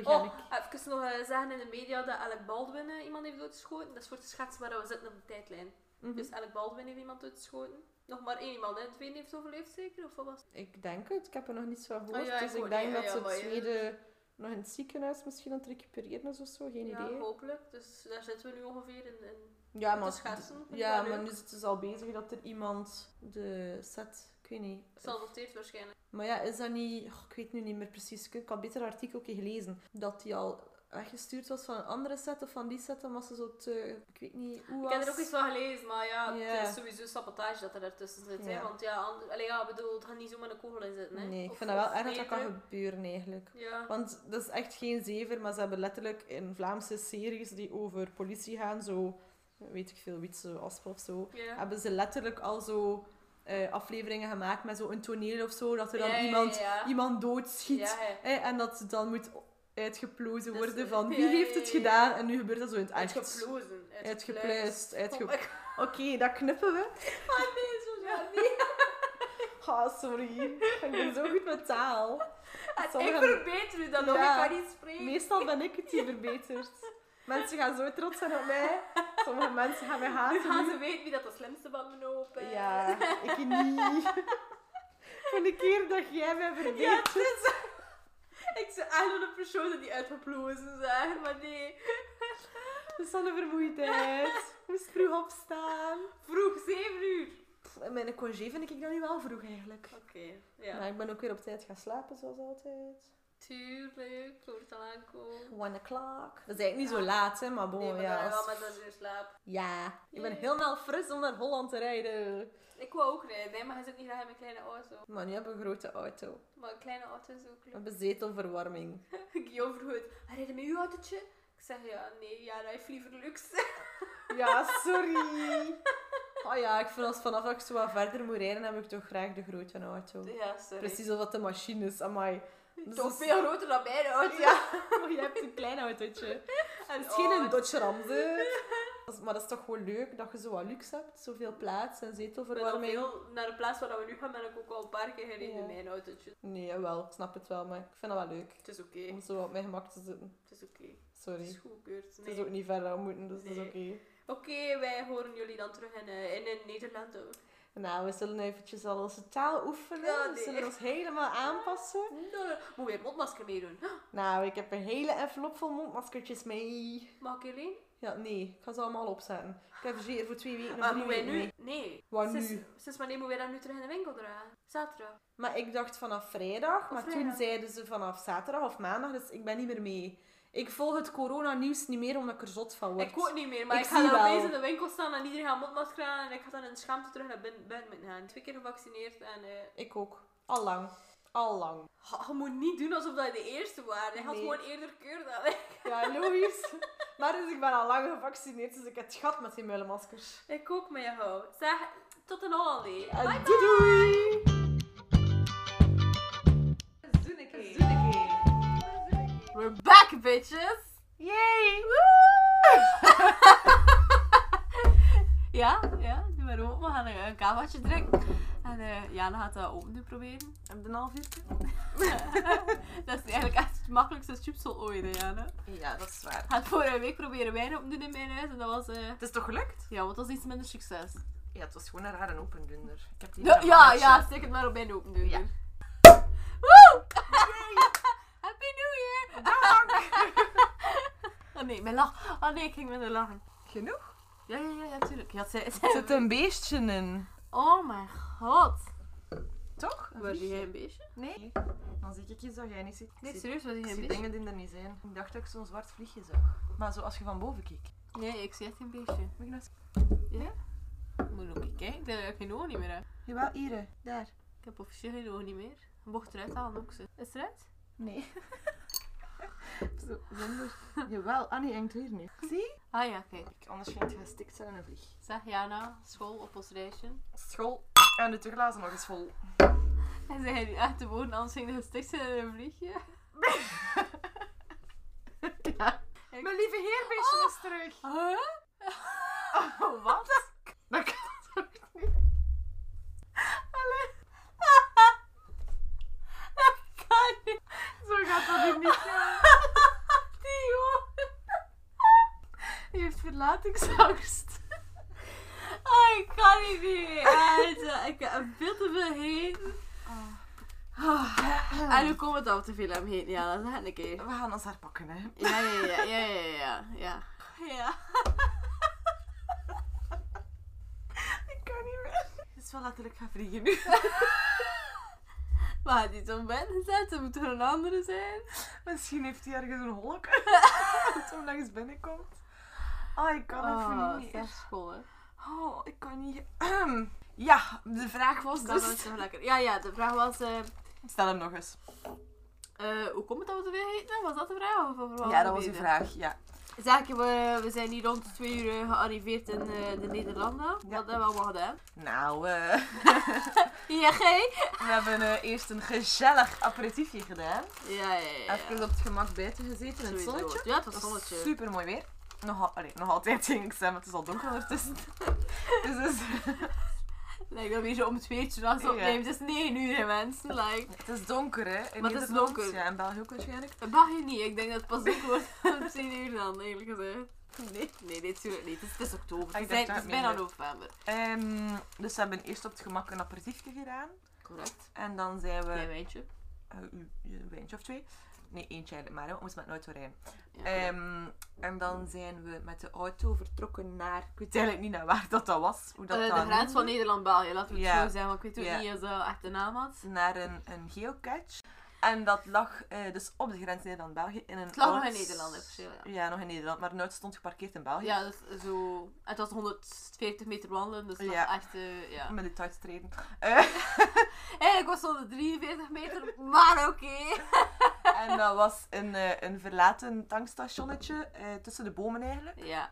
B: even nog eh, zeggen in de media dat Alec Baldwin eh, iemand heeft doodgeschoten. Dat is voor te schetsen waar we zitten op de tijdlijn.
A: Mhm.
B: Dus Alec Baldwin heeft iemand doodgeschoten. Nog maar één iemand, hè. Twee heeft overleefd zeker, of wat was het?
A: Ik denk het, ik heb er nog niets van gehoord.
B: Oh ja,
A: dus
B: ik
A: ik
B: ook
A: denk
B: niet.
A: dat
B: Ja,
A: ze
B: ja,
A: het
B: maar ja.
A: tweede nog in het ziekenhuis misschien aan het recupereren is of zo, geen
B: ja,
A: idee.
B: hopelijk. Dus daar zitten we nu ongeveer in. in.
A: Ja,
B: Te
A: maar,
B: schetsen, vind ik
A: ja,
B: wel
A: maar
B: leuk.
A: nu is het dus al bezig dat er iemand de set, ik weet niet.
B: Salvateert waarschijnlijk.
A: Maar ja, is dat niet, goh, ik weet nu niet meer precies, ik had beter een artikel gelezen, dat die al weggestuurd was van een andere set of van die set, omdat ze zo te, ik weet niet hoe
B: Ik
A: was.
B: heb er ook iets van gelezen, maar ja,
A: Ja.
B: het is sowieso sabotage dat er ertussen zit. Hè?
A: Ja.
B: Want ja, ander, allee, ja, ik bedoel, het gaat niet zomaar een kogel in zitten. Hè?
A: Nee, ik
B: Of-
A: vind dat wel
B: of
A: erg dat dat kan
B: meerdere.
A: gebeuren eigenlijk.
B: Ja.
A: Want dat is echt geen zever, maar ze hebben letterlijk in Vlaamse series die over politie gaan, zo, weet ik veel, Wietse Aspen of zo,
B: ja.
A: hebben ze letterlijk al zo eh, afleveringen gemaakt met zo'n toneel of zo, dat er dan
B: Ja, ja,
A: iemand,
B: ja.
A: iemand doodschiet.
B: Ja, hè.
A: hè, en dat het dan moet uitgeplozen
B: Dus-
A: worden van wie
B: ja,
A: heeft het
B: ja, ja, ja.
A: gedaan en nu gebeurt dat zo in het echt.
B: Uitgeplozen.
A: Uitgepluist. uitge-
B: Oh my god,
A: Oké, dat knippen we.
B: nee, zo ja, nee.
A: Ah, sorry. (laughs) Ik ben zo goed met taal.
B: Ik
A: Sommige-
B: verbeter u dan nog,
A: Ja.
B: ik kan niet spreken.
A: Meestal ben ik het die verbetert. Mensen gaan zo trots zijn op mij. Sommige mensen gaan mij
B: Nu
A: haten.
B: gaan ze weten wie dat de slimste van me open.
A: Ja, ik niet. (laughs) Van de keer dat jij mij
B: Ja,
A: verbetert.
B: het is... Ik zou eigenlijk een persoon die uitgeplozen zijn, maar nee.
A: Dat is dan een vermoeidheid. Ik moest vroeg opstaan.
B: Vroeg, 7 uur.
A: Pff, Mijn congé vind ik dan nu wel vroeg eigenlijk.
B: Oké, ja.
A: Maar ik ben ook weer op tijd gaan slapen, zoals altijd.
B: Tuurlijk, ik hoor het al aankomen.
A: One o'clock. Dat is eigenlijk niet
B: Ja.
A: zo laat, hè, maar bon,
B: Nee, maar
A: Oh, ja.
B: dan wel
A: als-
B: met dat uur slaap.
A: Ja. Ik ben
B: Yay.
A: helemaal fris om naar Holland te rijden.
B: Ik wou ook rijden, hè, maar hij is ook niet graag in mijn kleine auto.
A: Maar nu hebben we een grote auto.
B: Maar een kleine auto is ook
A: We
B: leuk.
A: hebben zetelverwarming.
B: Guillaume vroeg het, hij rijdt met uw autootje? Ik zeg, ja, nee, ja, hij heeft liever luxe.
A: Ja,
B: (laughs)
A: sorry. Oh ja, ik vind als vanaf dat ik zo wat verder moet rijden, heb ik toch graag de grote auto.
B: Ja, sorry.
A: Precies of dat de machine is, amai. Dat
B: Toch
A: Dus is-
B: veel groter dan mijn auto.
A: Ja,
B: Oh,
A: maar je hebt een klein autootje.
B: en
A: (laughs) Het is geen een
B: oh,
A: Dodge Ram,
B: (laughs)
A: ze. Dat is- Maar dat is toch gewoon leuk, dat je zo wat luxe hebt. Zoveel plaats en
B: ik ben al
A: zetelverwarming.
B: veel naar de plaats waar we nu gaan, ben ik ook al een paar keer gereden
A: Ja.
B: in mijn autootje.
A: Nee, wel, ik snap het wel, maar ik vind dat wel leuk.
B: Het is oké,
A: Om zo op mijn gemak te zitten.
B: het is oké. Het is
A: Sorry.
B: goedgekeurd.
A: Het is
B: Nee.
A: ook niet ver aan moeten, dus dat
B: Nee.
A: is oké.
B: Oké, wij horen jullie dan terug in, eh, in, in Nederland. hoor.
A: Nou, we zullen eventjes al onze taal oefenen.
B: Ja, nee.
A: We zullen ons helemaal aanpassen.
B: Moet weer mondmasker meedoen.
A: Nou, ik heb een hele envelop vol mondmaskertjes mee.
B: Mag ik alleen?
A: Ja, nee, ik ga ze allemaal opzetten. Ik heb ze hier voor twee weken of
B: Maar
A: drie
B: Ah, moeten wij
A: weken
B: nu?
A: mee.
B: Nee.
A: Waar
B: sinds,
A: nu?
B: Sinds wanneer moeten wij dat nu terug in de winkel dragen? Zaterdag.
A: Maar ik dacht vanaf vrijdag, maar toen
B: vrijdag.
A: zeiden ze vanaf zaterdag of maandag, dus ik ben niet meer mee. Ik volg het coronanieuws niet meer omdat ik er zot van word.
B: Ik ook niet meer, maar ik,
A: Ik
B: ga
A: zie
B: dan
A: wel.
B: opeens in de winkel staan en iedereen gaat mondmasker aan en ik ga dan in schaamte terug naar binnen, binnen moeten gaan. Twee keer gevaccineerd en... eh,
A: Ik ook. Allang. Allang.
B: Ha, Je moet niet doen alsof dat je de eerste was. Hij had
A: Nee.
B: gewoon eerder keur dan ik.
A: Ja, logisch. maar dus ik ben al lang gevaccineerd, dus ik heb het gat met die muilenmaskers.
B: Ik ook met jou. Zeg, tot een Holland. hè.
A: En doei doei!
B: Zoeneke. We're back, bitches!
A: Yay!
B: Ja, ja, doe maar open. We gaan een, een kavaatje drinken. En eh Jana gaat dat open doen proberen.
A: Heb je een half uurtje?
B: dat is eigenlijk echt het makkelijkste chipsel ooit, hè, Jana.
A: Ja, dat is waar.
B: Had vorige week proberen wijn op te doen in mijn huis en dat was... eh,
A: Het is toch gelukt?
B: ja, wat was iets minder succes.
A: Ja, het was gewoon een rare opendunder. Ik heb die
B: Ja,
A: van
B: ja,
A: Marcia.
B: ja, steek het maar op mijn open doen. dus.
A: Ja.
B: eh, Woe! (laughs) Happy New Year! (laughs) oh nee, mijn lach. Oh nee, ik ging minder lachen.
A: Genoeg?
B: Ja, ja, ja, ja, tuurlijk. Ja, ze,
A: Er
B: ze...
A: zit een beestje in.
B: Oh mijn god.
A: Toch? Een
B: Was
A: vliegje?
B: jij een beestje?
A: Nee. Dan zie ik iets dat jij niet ziet. Ik
B: Nee,
A: zie-
B: serieus, was
A: ik
B: jij een
A: zie
B: beestje?
A: dingen die er niet zijn. Ik dacht dat ik zo'n zwart vliegje zag. Maar zo als je van boven keek.
B: Nee, ik zie echt geen beestje.
A: Moet ik nou eens-
B: Ik moet nog kijken, ik denk dat ik geen ogen niet meer heb.
A: Jawel, hier. Daar.
B: Ik heb officieel geen ogen niet meer. Ik mocht eruit halen ook ze. Is het eruit?
A: Nee. (laughs) Zo, zonder jawel. Ah nee, hangt hier niet. Zie?
B: Ah ja, kijk.
A: Anders ging het gestikt zijn in een vlieg.
B: Zeg Jana, school op ons reisje.
A: School. En de terglazen nog eens vol.
B: En zei die echt de woorden, anders ging het gestikt zijn in een vliegje.
A: (laughs) Ja. Mijn lieve heerbeestje was terug.
B: Huh?
A: Oh, wat? Dat kan toch niet?
B: Dat kan niet.
A: Zo gaat dat hier niet.
B: (laughs) Die jongen.
A: Je heeft verlatingsangst.
B: Oh, ik kan niet meer. Echt, eh, ik heb veel te veel heen.
A: Ah.
B: En nu komt het al te veel aan me heen. Ja, dat is echt een keer.
A: We gaan ons herpakken, hè.
B: Ja, ja, ja, ja, ja, ja, ja. Ja.
A: Ik kan niet meer. Het is wel letterlijk gaan vliegen (laughs) nu.
B: We hadden iets op bed gezet, er moet er een andere zijn.
A: Misschien heeft hij ergens een (laughs) holk. Toen langs binnenkomt. Oh, ik kan het
B: Oh,
A: niet meer.
B: echt school, hè.
A: Oh, ik kan niet. (clears throat) Ja, de vraag was
B: Dat
A: dus...
B: was toch lekker. Ja, ja, de vraag was... eh,
A: Stel hem nog eens.
B: eh, hoe komt het dat we te veel eten? Was dat de vraag? Of over wat
A: Ja, dat was
B: de
A: uw vraag. Ja.
B: Zaken, we, we zijn hier rond de twee uur eh, gearriveerd in eh, de Nederlanden. Wat hebben we allemaal gedaan?
A: Nou, eh,
B: Ja, gij?
A: we hebben eh, eerst een gezellig aperitiefje gedaan.
B: Ja, ja, ja. ja.
A: Even op het gemak buiten gezeten in het
B: Sowieso.
A: zonnetje.
B: Ja, het was
A: Het
B: zonnetje.
A: was super mooi weer. Nog, al- allee, nog altijd (laughs) denk ik, Sam, het is al donker
B: (laughs)
A: ondertussen. dus het is,
B: Lijkt dat we hier zo om twee uur 's nachts
A: Ja.
B: opnemen. Het is negen uur, hè, mensen. Like,
A: het is donker, hè? In
B: Maar het is
A: Nederland.
B: donker.
A: Ja, in België ook waarschijnlijk.
B: dat mag je niet. Ik denk dat het pas ook wordt (laughs) om tien uur dan, eerlijk gezegd. Nee, nee, dit natuurlijk niet. Het is, het is oktober.
A: Ah,
B: Het
A: ik
B: is, eind-
A: dacht
B: het is
A: dat het
B: bijna
A: minder.
B: november.
A: Ehm, dus we hebben eerst op het gemak een aperitiefje gedaan.
B: Correct.
A: En dan zijn we...
B: Klein wijntje.
A: eh, een een wijntje of twee. Nee, eentje eigenlijk maar. hè, want We moesten met een auto rijden.
B: Ja,
A: Ehm, en dan zijn we met de auto vertrokken naar... Ik weet eigenlijk niet naar waar dat, dat was. Hoe dat
B: Eh,
A: daar
B: de grens van
A: noemde.
B: Nederland-België, laten we het
A: Ja.
B: zo zeggen. Want ik weet ook
A: Ja.
B: niet of dat echt de naam had.
A: Naar een, een geocache. En dat lag eh, dus op de grens Nederland-België. in een
B: Het lag nog
A: oud-
B: in Nederland, hè, officieel, ja.
A: Ja, nog in Nederland. Maar nooit stond geparkeerd in België.
B: Ja, dus zo. Het was 140 meter wandelen, dus dat
A: Ja.
B: was echt. eh, ja.
A: Met het uitstreden. Eh, (laughs)
B: Eigenlijk was het 143 meter, maar oké.
A: en dat was een, eh, een verlaten tankstationnetje eh, tussen de bomen eigenlijk.
B: Ja.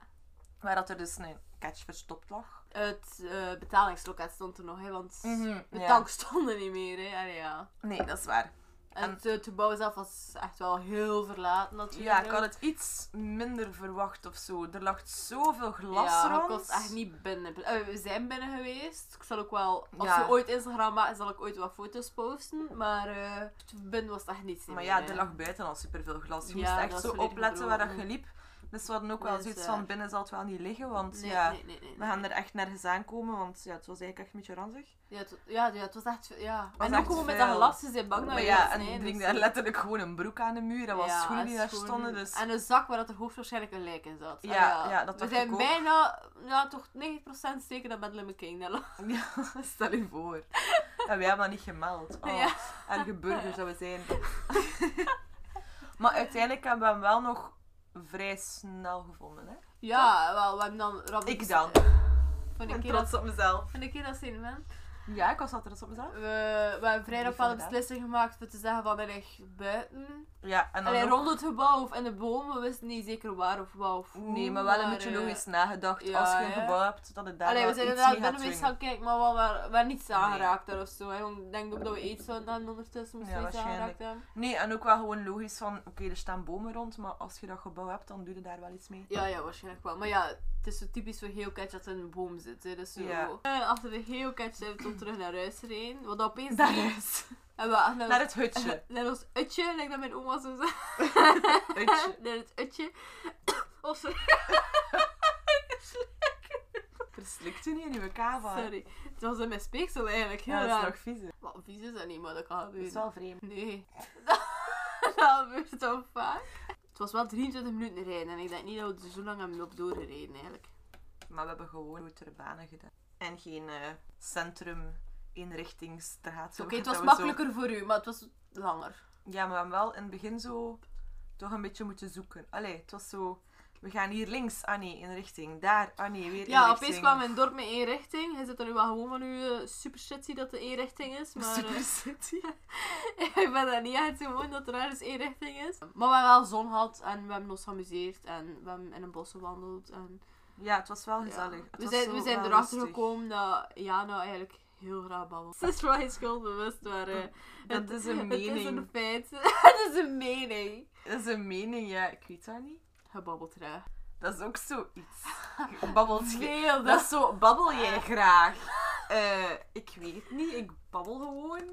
A: Waar dat er dus een catch verstopt lag.
B: Het eh, betalingsloket stond er nog, hè, want de
A: Mhm, ja.
B: tank stond er niet meer. Hè. Allee, ja.
A: Nee, dat is waar.
B: En
A: En-
B: het, eh, het gebouw zelf was echt wel heel verlaten natuurlijk.
A: Ja, ik had het iets minder verwacht of zo. Er lag zoveel glas
B: ja,
A: rond.
B: ik was echt niet binnen. Eh, we zijn binnen geweest. Ik zal ook wel, als
A: Ja.
B: we ooit Instagram maken, zal ik ooit wat foto's posten. Maar eh, binnen was het echt niets
A: Maar
B: meer,
A: ja,
B: hè.
A: er lag buiten al superveel glas. Je
B: Ja,
A: moest
B: dat
A: echt
B: was
A: zo
B: volledig
A: opletten waar dat je
B: bedrogen.
A: liep. Dus we hadden ook wel
B: Dat is
A: zoiets
B: waar.
A: van binnen zal het wel niet liggen, want
B: eh, Nee,
A: ja,
B: nee, nee, nee, Oh,
A: we gaan er echt nergens aankomen, want ja, het was eigenlijk echt een beetje ranzig.
B: Ja, het, ja, ja, het was echt... Ja.
A: was
B: en ook
A: echt
B: gewoon met
A: veel.
B: dat glas, ze zijn bang dat
A: maar
B: je
A: ja,
B: gaat
A: en
B: snijden,
A: er hing
B: dus-
A: daar letterlijk gewoon een broek aan de muur en wat
B: Ja,
A: schoenen die daar
B: schoenen.
A: stonden. Dus
B: En een zak waar dat er hoogstwaarschijnlijk een lijk in zat. Ah,
A: Ja, ja, dat
B: We
A: dacht
B: zijn
A: ik ook.
B: bijna ja, toch 90% zeker dat Madeleine King dat lag.
A: (laughs)
B: (laughs)
A: ja, stel je voor. En wij hebben dat niet gemeld. Oh,
B: (laughs) Ja.
A: Erge burgers dat we zijn. (laughs) maar uiteindelijk hebben we hem wel nog vrij snel gevonden, hè?
B: Ja, wel, we hebben dan... Robin,
A: Ik
B: (laughs)
A: dan.
B: Van
A: Ik
B: eh, een
A: ben
B: keer dat...
A: trots op mezelf.
B: Van een keer dat zijn man.
A: Ja, ik was wel trots op mezelf.
B: We, we hebben vrijdag
A: Lief
B: wel een
A: inderdaad.
B: beslissing gemaakt voor te zeggen van hij ligt buiten.
A: Ja, en dan
B: Allee,
A: ook-
B: rond het gebouw of in de bomen. We wisten niet zeker waar of wat of hoe,
A: Nee, maar wel een
B: maar,
A: beetje
B: eh,
A: logisch nagedacht.
B: ja,
A: als je een
B: hè.
A: gebouw hebt, dat het daar
B: Allee,
A: wel
B: we zijn
A: iets
B: inderdaad
A: mee
B: binnen
A: gaat swingen.
B: geweest gaan kijken, maar we waren, we waren niets aangeraakt daar of zo. Hè. Want Ik denk ook dat we iets hadden dan ondertussen, moesten
A: Ja,
B: we iets aangeraakt
A: waarschijnlijk.
B: hebben.
A: Nee, en ook wel gewoon logisch van, oké, er staan bomen rond, maar als je dat gebouw hebt, dan doe je daar wel iets mee.
B: Ja, ja, waarschijnlijk wel. Maar ja, het is zo typisch voor geocache dat er een boom zit. Hè. Dus zo.
A: Ja.
B: Eh, Achter de geocache zijn we toen terug naar huis gereden. Wat dat opeens... (laughs)
A: Daar is.
B: En we echt naar,
A: (laughs)
B: (laughs)
A: Naar het hutje.
B: ons- naar ons utje, lijkt dat mijn oma zo
A: (laughs)
B: zei.
A: Hutje.
B: naar het utje. (coughs) Oh, sorry.
A: Verslikt u niet in uw kava.
B: sorry. Het was in mijn speeksel eigenlijk. Heel
A: Ja, dat is
B: raar.
A: nog vies. hè.
B: Wat vies is dat niet, maar dat kan
A: Dat
B: gebeuren.
A: is wel vreemd.
B: Nee. (laughs) dat gebeurt zo vaak. Het was wel 23 minuten rijden en ik denk niet dat we er zo lang hebben op doorgereden eigenlijk.
A: Maar we hebben gewoon grotere banen gedaan. En geen eh centrum inrichtingsstraat.
B: Oké, het was
A: Dat we zo-
B: makkelijker voor u, maar het was langer.
A: Ja, maar we hebben wel in het begin zo toch een beetje moeten zoeken. Allee, het was zo... we gaan hier links, Annie, in richting. Daar, Annie, weer in
B: Ja,
A: richting.
B: opeens kwam mijn dorp met één richting. Hij zit er nu wel gewoon van uw eh, super shitty dat er één richting is. Maar eh,
A: Super City.
B: ik ben daar niet echt gewoon dat er ergens één richting is. Maar we hebben wel zon gehad en we hebben ons geamuseerd en we hebben in een bos gewandeld. En,
A: Ja, het was wel
B: (laughs) ja.
A: gezellig. Het
B: We
A: was
B: zijn,
A: zo
B: we zijn
A: wel
B: erachter
A: rustig.
B: gekomen dat Jana eigenlijk heel graag (laughs) babbelt. Ze is wel eens schuldbewust, maar eh,
A: Dat is een
B: het is een
A: mening.
B: feit. (laughs) het is een mening.
A: Dat is een mening, ja. Ik weet dat niet.
B: Gebabbeld graag.
A: Dat is ook zoiets.
B: (laughs)
A: Je Babbelt je-
B: Veel,
A: Dat
B: dat Ah.
A: is zo, babbel jij graag? Eh, ik weet niet, ik babbel gewoon.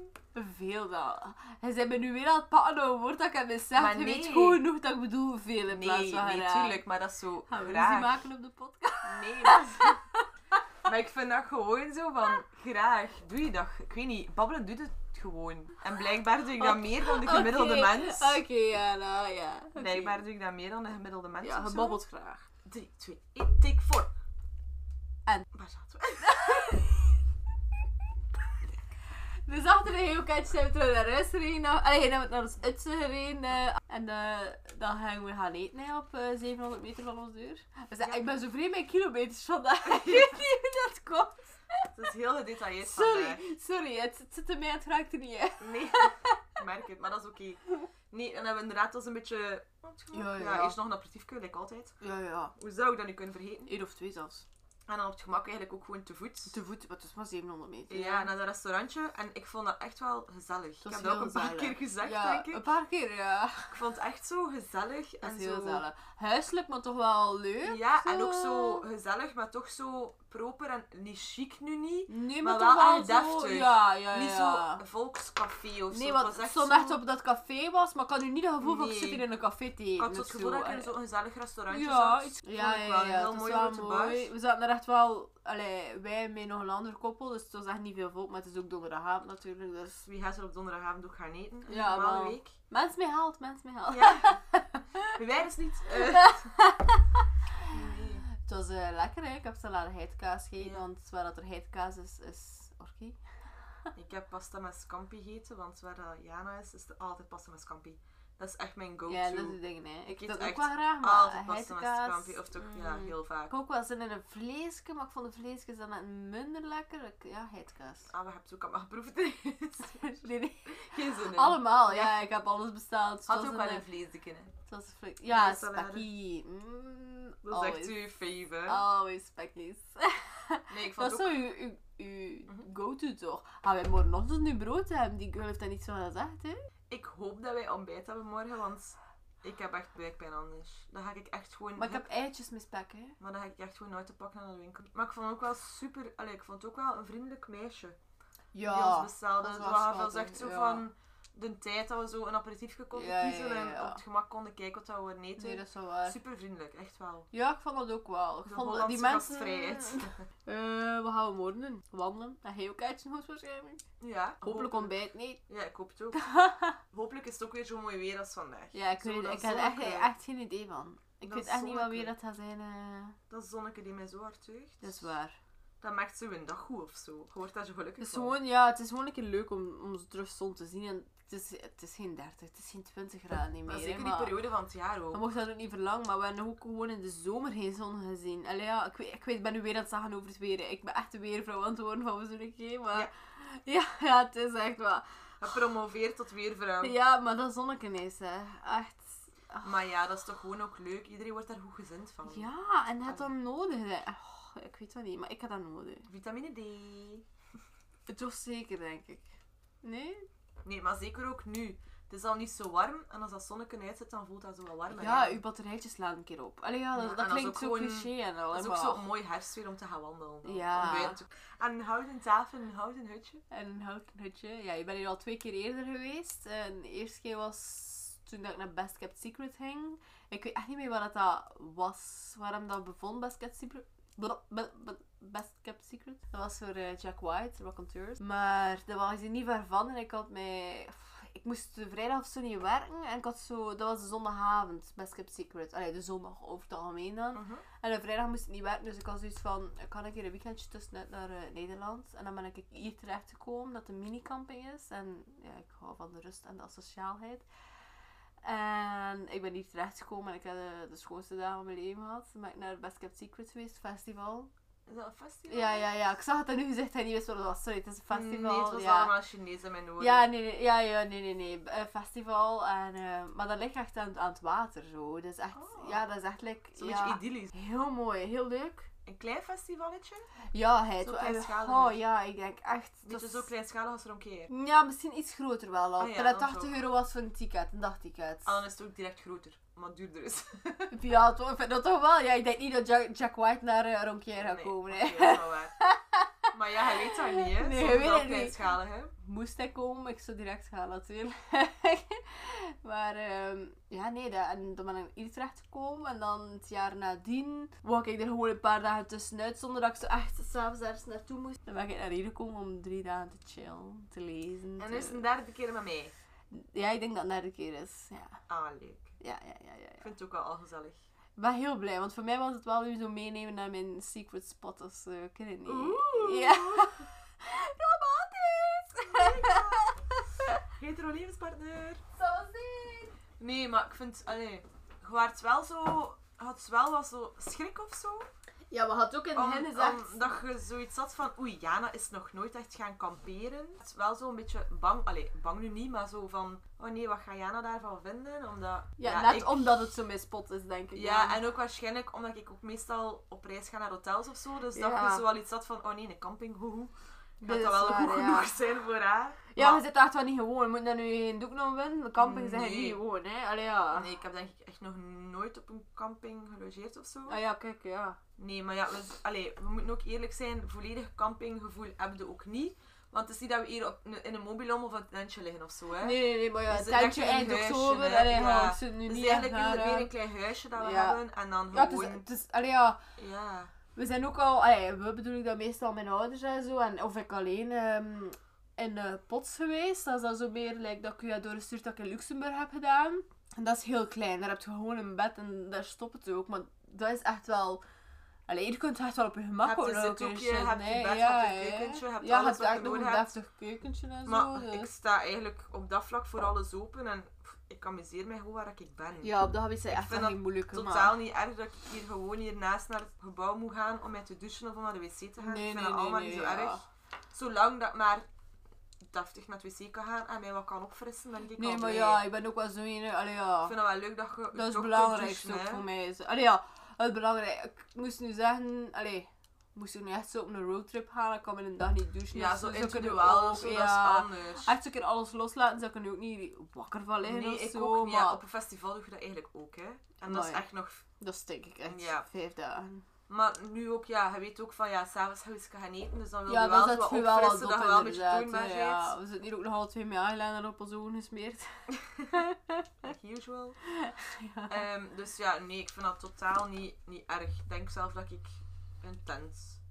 B: Veel dat. Hij zei me nu weer aan het pakken over een woord dat ik heb gezegd.
A: Maar
B: Maar
A: nee.
B: weet goed genoeg dat ik bedoel veel in plaats
A: Nee,
B: van
A: nee,
B: graag.
A: tuurlijk, maar dat is zo
B: Gaan we ruzie
A: graag.
B: maken op de podcast?
A: Nee,
B: (laughs)
A: maar... (laughs) maar ik vind dat gewoon zo van, graag, doe je dat. Ik weet niet, babbelen doet het gewoon. En blijkbaar doe ik dat meer dan de gemiddelde
B: Oh, Oké,
A: mens.
B: Oké, ja, nou ja. oké.
A: Blijkbaar doe ik dat meer dan de gemiddelde mens
B: Ja,
A: of zo.
B: gebabbeld graag.
A: 3, 2, 1, tik voor.
B: En?
A: Waar zaten we? (laughs)
B: Dus achter de geelkantje zijn we terug naar huis gereden. Allee, dan naar ons Utsen gereden. eh, en eh, dan gaan we gaan eten hè, op eh, 700 meter van ons deur. We zijn, Ik ben zo vreemd met kilometers vandaag. (laughs) Ik weet niet hoe dat komt.
A: Het is heel gedetailleerd vandaag.
B: (laughs) Sorry, sorry. Het, het zit in mij, het raakt er niet uit. (laughs)
A: Nee, ik merk het, maar dat is oké. Nee, en dan hebben we inderdaad was een beetje...
B: Ja, ja.
A: eerst nog een aperitiefje, like altijd.
B: Ja, ja.
A: Hoe zou ik dat nu kunnen vergeten?
B: Eén of twee zelfs.
A: En dan op het gemak eigenlijk ook gewoon te voet.
B: Te voet, wat is maar 700 meter.
A: Ja, nou, naar dat restaurantje. En ik vond dat echt wel gezellig. Ik
B: was
A: heb dat ook
B: heel
A: een paar
B: gezellig.
A: keer gezegd,
B: Ja,
A: denk ik.
B: een paar keer, ja.
A: Ik vond het echt zo gezellig.
B: Dat
A: en
B: is heel
A: zo...
B: gezellig. Huiselijk, maar toch wel leuk.
A: Ja,
B: zo.
A: en ook zo gezellig, maar toch zo proper en niet chic nu niet.
B: Nee,
A: Maar
B: maar,
A: wel
B: toch wel
A: deftig.
B: zo... Ja, ja, ja.
A: Niet zo volkscafé of zo.
B: Nee,
A: Het
B: want
A: was
B: het
A: echt
B: stond
A: zo-
B: echt op dat café was, maar ik had nu niet het gevoel van ik
A: Nee.
B: zit hier in een café te eten.
A: Ik had zo het
B: of
A: gevoel dat ik
B: zo. eh,
A: in zo'n gezellig restaurantje
B: ja,
A: zat.
B: iets-
A: Vond ik wel een heel
B: het was
A: mooie
B: wel
A: grote bar.
B: We zaten er echt wel, allee, wij met nog een ander koppel, dus het was echt niet veel volk, maar het is ook donderdagavond natuurlijk. Dus
A: Wie gaat er op donderdagavond ook gaan eten? Een
B: Ja,
A: normale
B: wel. (laughs)
A: week.
B: mens mee haalt, mens mee haalt.
A: Ja. Bij mij is niet. eh.
B: (laughs)
A: Nee.
B: Het was eh, lekker, hè? ik heb salade heidkaas gegeten,
A: Ja.
B: want waar dat er heidkaas is, is orkie.
A: Ik heb pasta met scampi gegeten, want waar dat Jana is, is er altijd pasta met scampi. Dat is echt mijn go-to.
B: Ja, dat is het ding, hè. Ik
A: eet
B: eet dat
A: echt
B: ook wel graag, maar
A: altijd pasta met
B: heidkaas...
A: scampi, of toch
B: mm,
A: ja, heel
B: Ik
A: vaak.
B: had ook wel zin in een vleesje, maar ik vond de vleesjes dan net minder lekker. Ik- Ja, heidkaas.
A: Ah, we hebben het ook allemaal geproefd. (laughs) Er is
B: Nee, nee.
A: Geen zin in.
B: Allemaal, ja, ik heb alles besteld. Het
A: Had
B: was
A: ook wel
B: een- eh,
A: een vleesje in.
B: het was een vlees- Ja,
A: Nee, salade.
B: spekkie. Mm,
A: Dat is echt
B: always-
A: uw fave.
B: Always (laughs) spekkies.
A: Nee, ik vond het
B: Dat is
A: ook... Mhm.
B: zo uw, uw, uw go-to toch? Ah, Gaan wij morgenochtend nu brood hebben? Die girl heeft daar niet zo van gezegd, hè?
A: Ik hoop dat wij ontbijt hebben morgen, want ik heb echt buikpijn anders. Dan ga ik echt gewoon...
B: Maar ik heb eitjes met spek, hè?
A: Maar dan ga ik echt gewoon uit te pakken naar de winkel. Maar ik vond ook wel super... Allee, ik vond het ook wel een vriendelijk meisje. die ons bestelde.
B: dat
A: Dat
B: was
A: was,
B: schattig,
A: echt zo
B: ja.
A: van... De tijd dat we zo een aperitiefje konden
B: Ja, ja,
A: kiezen
B: ja.
A: en op het gemak konden kijken wat we eten.
B: Nee, dat is wel waar.
A: Super vriendelijk, echt wel.
B: Ja, ik vond dat ook wel. Ik
A: De
B: vond
A: Hollandse
B: die mensen...
A: gastvrijheid. (laughs)
B: Eh, wat gaan we morgen doen? Wandelen. En heel kijken nog waarschijnlijk.
A: ja.
B: Hopelijk ontbijt niet.
A: Ja, ik hoop het
B: (laughs)
A: ook. Hopelijk is het ook weer zo mooi weer als vandaag.
B: Ja, ik,
A: Zo,
B: weet,
A: dat
B: ik heb echt,
A: zonneke-
B: echt geen idee van. Ik
A: Dat
B: weet echt niet wat
A: zonneke.
B: weer dat gaat zijn. eh.
A: Dat zonneke die mij zo hard teugt.
B: Dat is waar.
A: Dat maakt zo een dag goed of zo. Je wordt daar zo
B: Het
A: gelukkig
B: is,
A: van.
B: gewoon, ja, het is gewoon een keer leuk om, om zo terug zon te zien. En het, is, het is geen 30, het is geen 20 graden niet meer.
A: Maar
B: hè,
A: zeker die
B: maar-
A: periode van het jaar
B: We
A: ook.
B: mochten dat ook niet verlangen, maar we hebben ook gewoon in de zomer geen zon gezien. Allee, ja, ik, weet, ik weet, ik ben nu weer aan het zagen over het weer. hè. Ik ben echt de weervrouw aan het worden van zo'n keer, maar...
A: Ja.
B: Ja. (laughs) Ja, het is echt wel...
A: Gepromoveerd tot weervrouw.
B: Ja, maar dat zonneken is, hè. Echt...
A: Maar ja, dat is toch gewoon ook leuk. Iedereen wordt daar goed gezind van.
B: Ja, en je hebt dat nodig, hè. Oh, ik weet dat niet, maar ik heb dat nodig.
A: Vitamine D.
B: Eh, Toch zeker, denk ik. Nee?
A: Nee, maar zeker ook nu. Het is al niet zo warm. En als dat zonnetje uitzet, dan voelt dat zo wat warmer.
B: Ah, Ja,
A: u...
B: uw batterijtjes slaan een keer op. Allee, ja, dat,
A: Ja,
B: dat
A: en dat is
B: klinkt
A: ook
B: zo
A: gewoon-
B: cliché en al, hè,
A: Dat is ook
B: maar...
A: zo'n mooi herfstweer om te gaan wandelen. Dan.
B: Ja.
A: Om buiten te- En een houten tafel, een houten hutje.
B: En een houten hutje. Ja, je bent hier al twee keer eerder geweest. En de eerste keer was toen dat ik naar Best Kept Secret ging. Ik weet echt niet meer waar dat, dat was. Waarom dat bevond Best Kept Secret. Bl- bl- bl- Best Kept Secret. Dat was voor eh, Jack White, Raconteurs. Maar dat was er niet ver van. En ik had mij... Ik moest de vrijdag of zo niet werken. En ik had zo... Dat was de zondagavond, Best Kept Secret. Allee, de zondag over het algemeen dan.
A: Mhm.
B: En op vrijdag moest ik niet werken, dus ik had zoiets van, ik kan een keer een weekendje tussenuit naar eh, Nederland. En dan ben ik hier terecht gekomen, dat de minicamping is. En ja, ik hou van de rust en de asociaalheid. En ik ben hier terechtgekomen en ik heb eh, de, de schoonste dag van mijn leven gehad. Toen ben ik naar Best Kept Secret geweest, festival.
A: Is dat een festival?
B: Ja, ja, ja. Ik zag het aan uw gezicht en niet wist wat het was. Sorry, het is een festival.
A: Nee, het was
B: ja.
A: allemaal Chinees in mijn oren.
B: Ja, nee, nee, ja, ja, nee, nee, nee. Eh, festival. En, eh, maar dat ligt echt aan, aan het water zo. Dat is echt,
A: Oh.
B: ja, dat is echt like,
A: Zo'n
B: ja,
A: beetje idyllisch.
B: heel mooi, heel leuk.
A: Een klein festivaletje?
B: Ja, het
A: Zo
B: wa-
A: kleinschalig.
B: Oh ja, ik denk echt.
A: Beetje
B: dat is-
A: zo kleinschalig als er een keer.
B: Ja, misschien iets groter wel al.
A: Ah ja,
B: Terwijl het
A: dat is
B: 80
A: ook.
B: euro was voor een ticket, een
A: En
B: dagticket.
A: dan is het ook direct groter, maar duurder is.
B: (laughs) Ja, toch, ik vind dat toch wel. Ja, ik denk niet dat Jack, Jack White naar eh, Ronquier gaat
A: Nee,
B: komen.
A: oké,
B: Hè.
A: dat is wel waar. (laughs) maar ja, hij weet dat niet, hè?
B: Nee,
A: Soms
B: hij weet
A: wel
B: het niet.
A: kleinschalig, hè?
B: Moest hij komen, ik zou direct gaan natuurlijk. (laughs) maar ehm, ja, nee, dat, en dan ben ik in Utrecht gekomen. En dan het jaar nadien wou ik er gewoon een paar dagen tussenuit. Zonder dat ik zo echt s'avonds ergens naartoe moest. Dan ben ik naar hier gekomen om drie dagen te chillen, te lezen.
A: En
B: te-
A: is het een derde keer met mij.
B: Ja, ik denk dat het naar de keer is. Ja,
A: Ah, leuk.
B: ja, ja, ja. ja, ja.
A: Ik vind het ook wel al
B: (laughs)
A: gezellig.
B: Ik ben heel blij, want voor mij was het wel nu zo meenemen naar mijn secret spot als uh, kinderen.
A: Oeh.
B: Ja. (laughs) Romantisch!
A: Hetero levenspartner.
B: Zo zien!
A: Nee, maar ik vind, allee, je waart wel zo, had wel wat zo schrik of zo.
B: Ja, we hadden ook in
A: Om-
B: hen gezegd.
A: Omdat je zoiets had van, oei, Jana is nog nooit echt gaan kamperen. Het is wel zo een beetje bang, allee, bang nu niet, maar zo van, oh nee, wat gaat Jana daarvan vinden? Omdat,
B: Ja,
A: ja,
B: net
A: ik-
B: omdat het zo mijn spot is, denk ik.
A: Ja, en ook waarschijnlijk omdat ik ook meestal op reis ga naar hotels of zo. Dus dat
B: Ja.
A: je zo wel iets had van, oh nee, een camping, hoe
B: Dit
A: Gaat
B: is
A: dat wel
B: waar,
A: (laughs) goed
B: ja.
A: genoeg zijn voor haar?
B: Ja,
A: Maar-
B: je zit daar toch niet gewoon. Moet daar nu geen doek nog winnen? De camping zijn
A: Nee.
B: niet gewoon, hè? Allee, ja.
A: Nee, ik heb denk ik echt nog nooit op een camping gelogeerd of zo.
B: Ah ja, kijk, ja.
A: Nee, maar ja, we, allee, we moeten ook eerlijk zijn. Volledig campinggevoel hebben we ook niet. Want het is niet dat we hier op, in een mobilhome of een tentje liggen of zo. Hè.
B: Nee, nee, nee, maar ja,
A: Dus
B: het
A: het lijkt
B: tentje
A: een
B: eind
A: huisje,
B: oktober.
A: hè.
B: Allee, ja.
A: Ja.
B: ik zit nu
A: Dus
B: niet
A: eigenlijk
B: echt
A: is het
B: naar,
A: weer
B: eh,
A: een klein huisje dat we
B: Ja.
A: hebben. En dan
B: Ja, het
A: gewoon...
B: is, het is, allee, ja.
A: Ja.
B: We zijn ook al, allee, we bedoel ik dat meestal mijn ouders en zo, en of ik alleen ehm, in eh Pots geweest. Dat is dan zo meer like, dat ik u had doorgestuurd dat ik in Luxemburg heb gedaan. En dat is heel klein, daar heb je gewoon een bed en daar stopt het ook. Maar dat is echt wel... Allee, hier kunt je echt wel op je
A: Je
B: gemak
A: hebt een
B: ook
A: zithoekje, je hebt je bed, je hebt je keukentje, je hebt
B: ja,
A: alles wat
B: je hebt
A: je
B: echt nog
A: nodig
B: een
A: hebt.
B: deftig keukentje en
A: Maar
B: zo.
A: ik
B: dus-
A: sta eigenlijk op dat vlak voor alles open. En pff, ik amuseer mij gewoon waar ik ben.
B: Ja, op dat gebied zijn echt
A: vind
B: wel
A: dat
B: geen moeilijke
A: Totaal niet erg dat ik hier gewoon hiernaast naar het gebouw moet gaan om mij te douchen of om naar de wc te gaan.
B: Nee,
A: ik vind
B: nee,
A: dat
B: nee,
A: allemaal
B: nee,
A: niet zo
B: ja.
A: erg. Zolang dat ik maar deftig naar het wc kan gaan en mij wat kan opfrissen, ben ik
B: Nee,
A: al
B: maar
A: blij.
B: ja, ik ben ook wel zo'n... ene, Allee, ja.
A: Ik vind dat wel leuk dat je je
B: Dat is
A: toch
B: het
A: kunt
B: belangrijkste ook
A: douchen, hè.
B: voor mij. Is, allee, ja, het belangrijkste. Ik moest nu zeggen, allee, moest ik nu echt zo op een roadtrip gaan, ik kan in een dag niet douchen.
A: Ja,
B: dus
A: zo
B: kunnen we
A: individueel
B: ook,
A: of zo,
B: ja.
A: dat is anders.
B: Echt een keer alles loslaten, zou ik er nu ook niet wakker van liggen
A: nee,
B: of
A: ik
B: zo.
A: ook niet.
B: maar
A: Ja, op een festival doe je dat eigenlijk ook, hè. En dat is
B: Amai.
A: echt nog...
B: dat stink ik echt
A: Ja.
B: vijf dagen.
A: Maar nu ook, ja, je weet ook van, ja, s'avonds ga je eens gaan eten, dus dan wil
B: ja,
A: je wel
B: dat
A: eens
B: zet
A: wat
B: je wel wat
A: opfrissen,
B: op
A: dat je wel een beetje
B: inderdaad,
A: toonbaar
B: hè,
A: bent.
B: ja. We zitten hier ook nog alle twee met eyeliner op onze ogen gesmeerd.
A: Like
B: (laughs)
A: usual. Ehm, dus ja, nee, ik vind dat totaal niet, niet erg. Ik denk zelf dat ik een tent.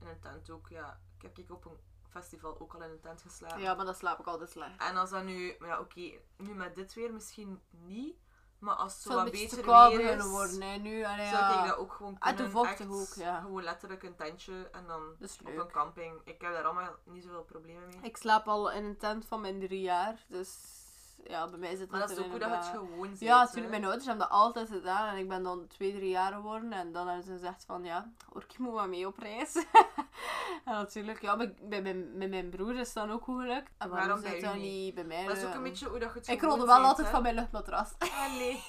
A: In een tent ook, ja. Ik heb ik op een festival ook al in een tent geslapen.
B: Ja, maar dan slaap ik altijd slecht.
A: En als dat nu, maar ja, oké, nu met dit weer misschien niet. Maar als het zo
B: Het zou
A: wat
B: een beetje te
A: beter
B: koud
A: weer is,
B: beginnen worden, hè, nu. Allee,
A: zou
B: ja.
A: ik dat ook gewoon
B: En
A: kunnen.
B: te vochtig
A: echt
B: ook, ja.
A: Gewoon letterlijk een tentje en dan
B: Dat is
A: op
B: leuk.
A: een camping. Ik heb daar allemaal niet zoveel problemen mee.
B: Ik slaap al in een tent van mijn drie jaar, dus ja, bij mij zit
A: Maar dat is
B: er
A: ook goed dat je het
B: inderdaad-
A: gewoon ziet.
B: Ja, natuurlijk, mijn ouders hebben dat altijd gedaan en ik ben dan twee, drie jaar geworden en dan hebben ze gezegd van ja, Orkie moet maar mee op reis. (laughs) en natuurlijk, ja, bij, bij, mijn- bij mijn broer is dat ook goed gelukt. En waarom,
A: Waarom bij
B: zit
A: u
B: dat
A: niet?
B: niet bij mij?
A: Dat is ook
B: eh,
A: een beetje hoe dat je het
B: Ik
A: gewoon
B: rolde wel
A: ziet,
B: altijd
A: hè.
B: van (laughs) mijn luchtmatras.
A: Allee.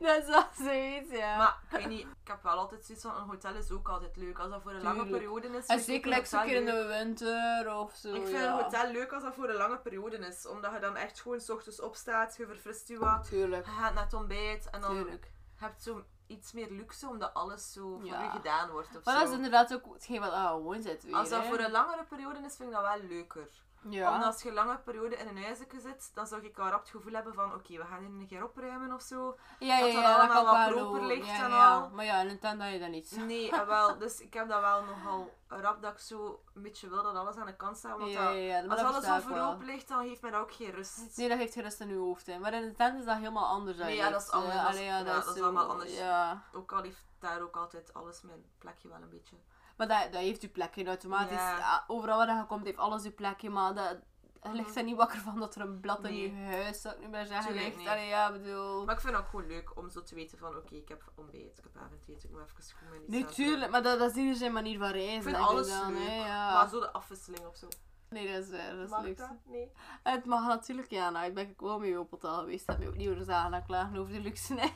B: dat is wel zoiets, ja.
A: Maar ik weet niet, ik heb wel altijd zoiets van een hotel is ook altijd leuk. Als dat voor een lange
B: Tuurlijk.
A: periode is. vind
B: en
A: ik
B: zeker
A: een
B: like, zo'n
A: hotel
B: keer in
A: leuk.
B: de winter of zo.
A: Ik vind
B: ja.
A: een hotel leuk als dat voor een lange periode is. Omdat je dan echt gewoon 's ochtends opstaat, je verfrist je wat, je
B: Tuurlijk,
A: gaat naar het ontbijt en dan
B: tuurlijk.
A: heb je zo iets meer luxe omdat alles zo voor
B: Ja.
A: je gedaan wordt. Of
B: Maar dat
A: zo.
B: is inderdaad ook hetgeen wat aan gewoon zit weer.
A: Als dat
B: hè.
A: voor een langere periode is, vind ik dat wel leuker.
B: ja.
A: Omdat als je een lange periode in een huisje zit, dan zou ik al rap het gevoel hebben van oké, we gaan hier een keer opruimen of zo.
B: ja,
A: dat
B: ja,
A: dat
B: ja,
A: allemaal
B: kan
A: wat
B: wel
A: proper
B: doen.
A: ligt
B: ja,
A: en
B: ja.
A: al.
B: Maar ja, in een tent had je dat niet.
A: Nee, eh, wel, dus ik heb dat wel nogal rap dat ik zo een beetje wil dat alles aan de kant staat. Want
B: ja, ja,
A: dat-
B: ja, maar
A: als
B: dat
A: alles
B: versta ik wel.
A: overhoop ligt, dan geeft mij dat ook geen rust.
B: Nee, dat heeft gerust in je hoofd. Hè. Maar in een tent is dat helemaal anders.
A: Nee, ja,
B: eigenlijk,
A: dat is anders.
B: hè.
A: Dat is-
B: Allee,
A: ja, dat is
B: zo-
A: allemaal anders.
B: Ja.
A: Ook al heeft daar ook altijd alles mijn plekje wel een beetje.
B: Maar dat, dat heeft je plekje automatisch.
A: Ja. Mm.
B: Ah, Overal waar je komt heeft alles je plekje. Maar dat, Je ligt er niet wakker van dat er een blad in je huis, zou ik nu maar zeggen,
A: Tuurlijk
B: ligt.
A: niet.
B: Allee, ja, bedoel...
A: Maar ik vind het ook gewoon leuk om zo te weten van, oké, ik heb ontbijt, ik heb avondeten, ik moet even schoon mijn lichaam doen.
B: Natuurlijk, maar dat, dat is ieder zijn manier van reizen.
A: Ik vind
B: denk
A: alles
B: dan,
A: leuk,
B: hè, ja.
A: maar zo de afwisseling of zo.
B: Nee, dat is, waar, dat is
A: Mag
B: leuk.
A: dat? Nee. (laughs)
B: Het mag natuurlijk, ja. Nou, ik ben ook wel mee op hotel geweest. Dat heb je ook niet horen nou, zagen aan klagen over de luxe. Hè.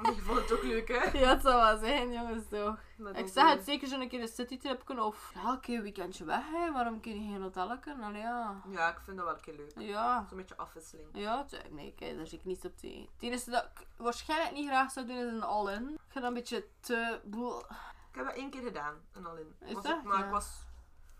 A: Want ik vond het ook leuk, hè?
B: (laughs) Ja, het zou wel zijn, jongens, toch.
A: Met
B: Ik
A: onze-
B: zag het zeker zo'n keer een citytrip kunnen of... Ja, een keer een weekendje weg, hè. Waarom kun je geen hotel kunnen? Allee, ja.
A: Ja, ik vind dat wel een keer leuk.
B: Ja.
A: Zo'n beetje afwisseling.
B: Ja, t- nee, kijk, daar zit ik niet op tegen. Het enige dat ik waarschijnlijk niet graag zou doen, is een all-in. Ik ga dan een beetje te... boel-
A: Ik heb dat één keer gedaan, een all-in.
B: Is
A: Was
B: dat?
A: ook- Maar
B: Ja.
A: ik, was,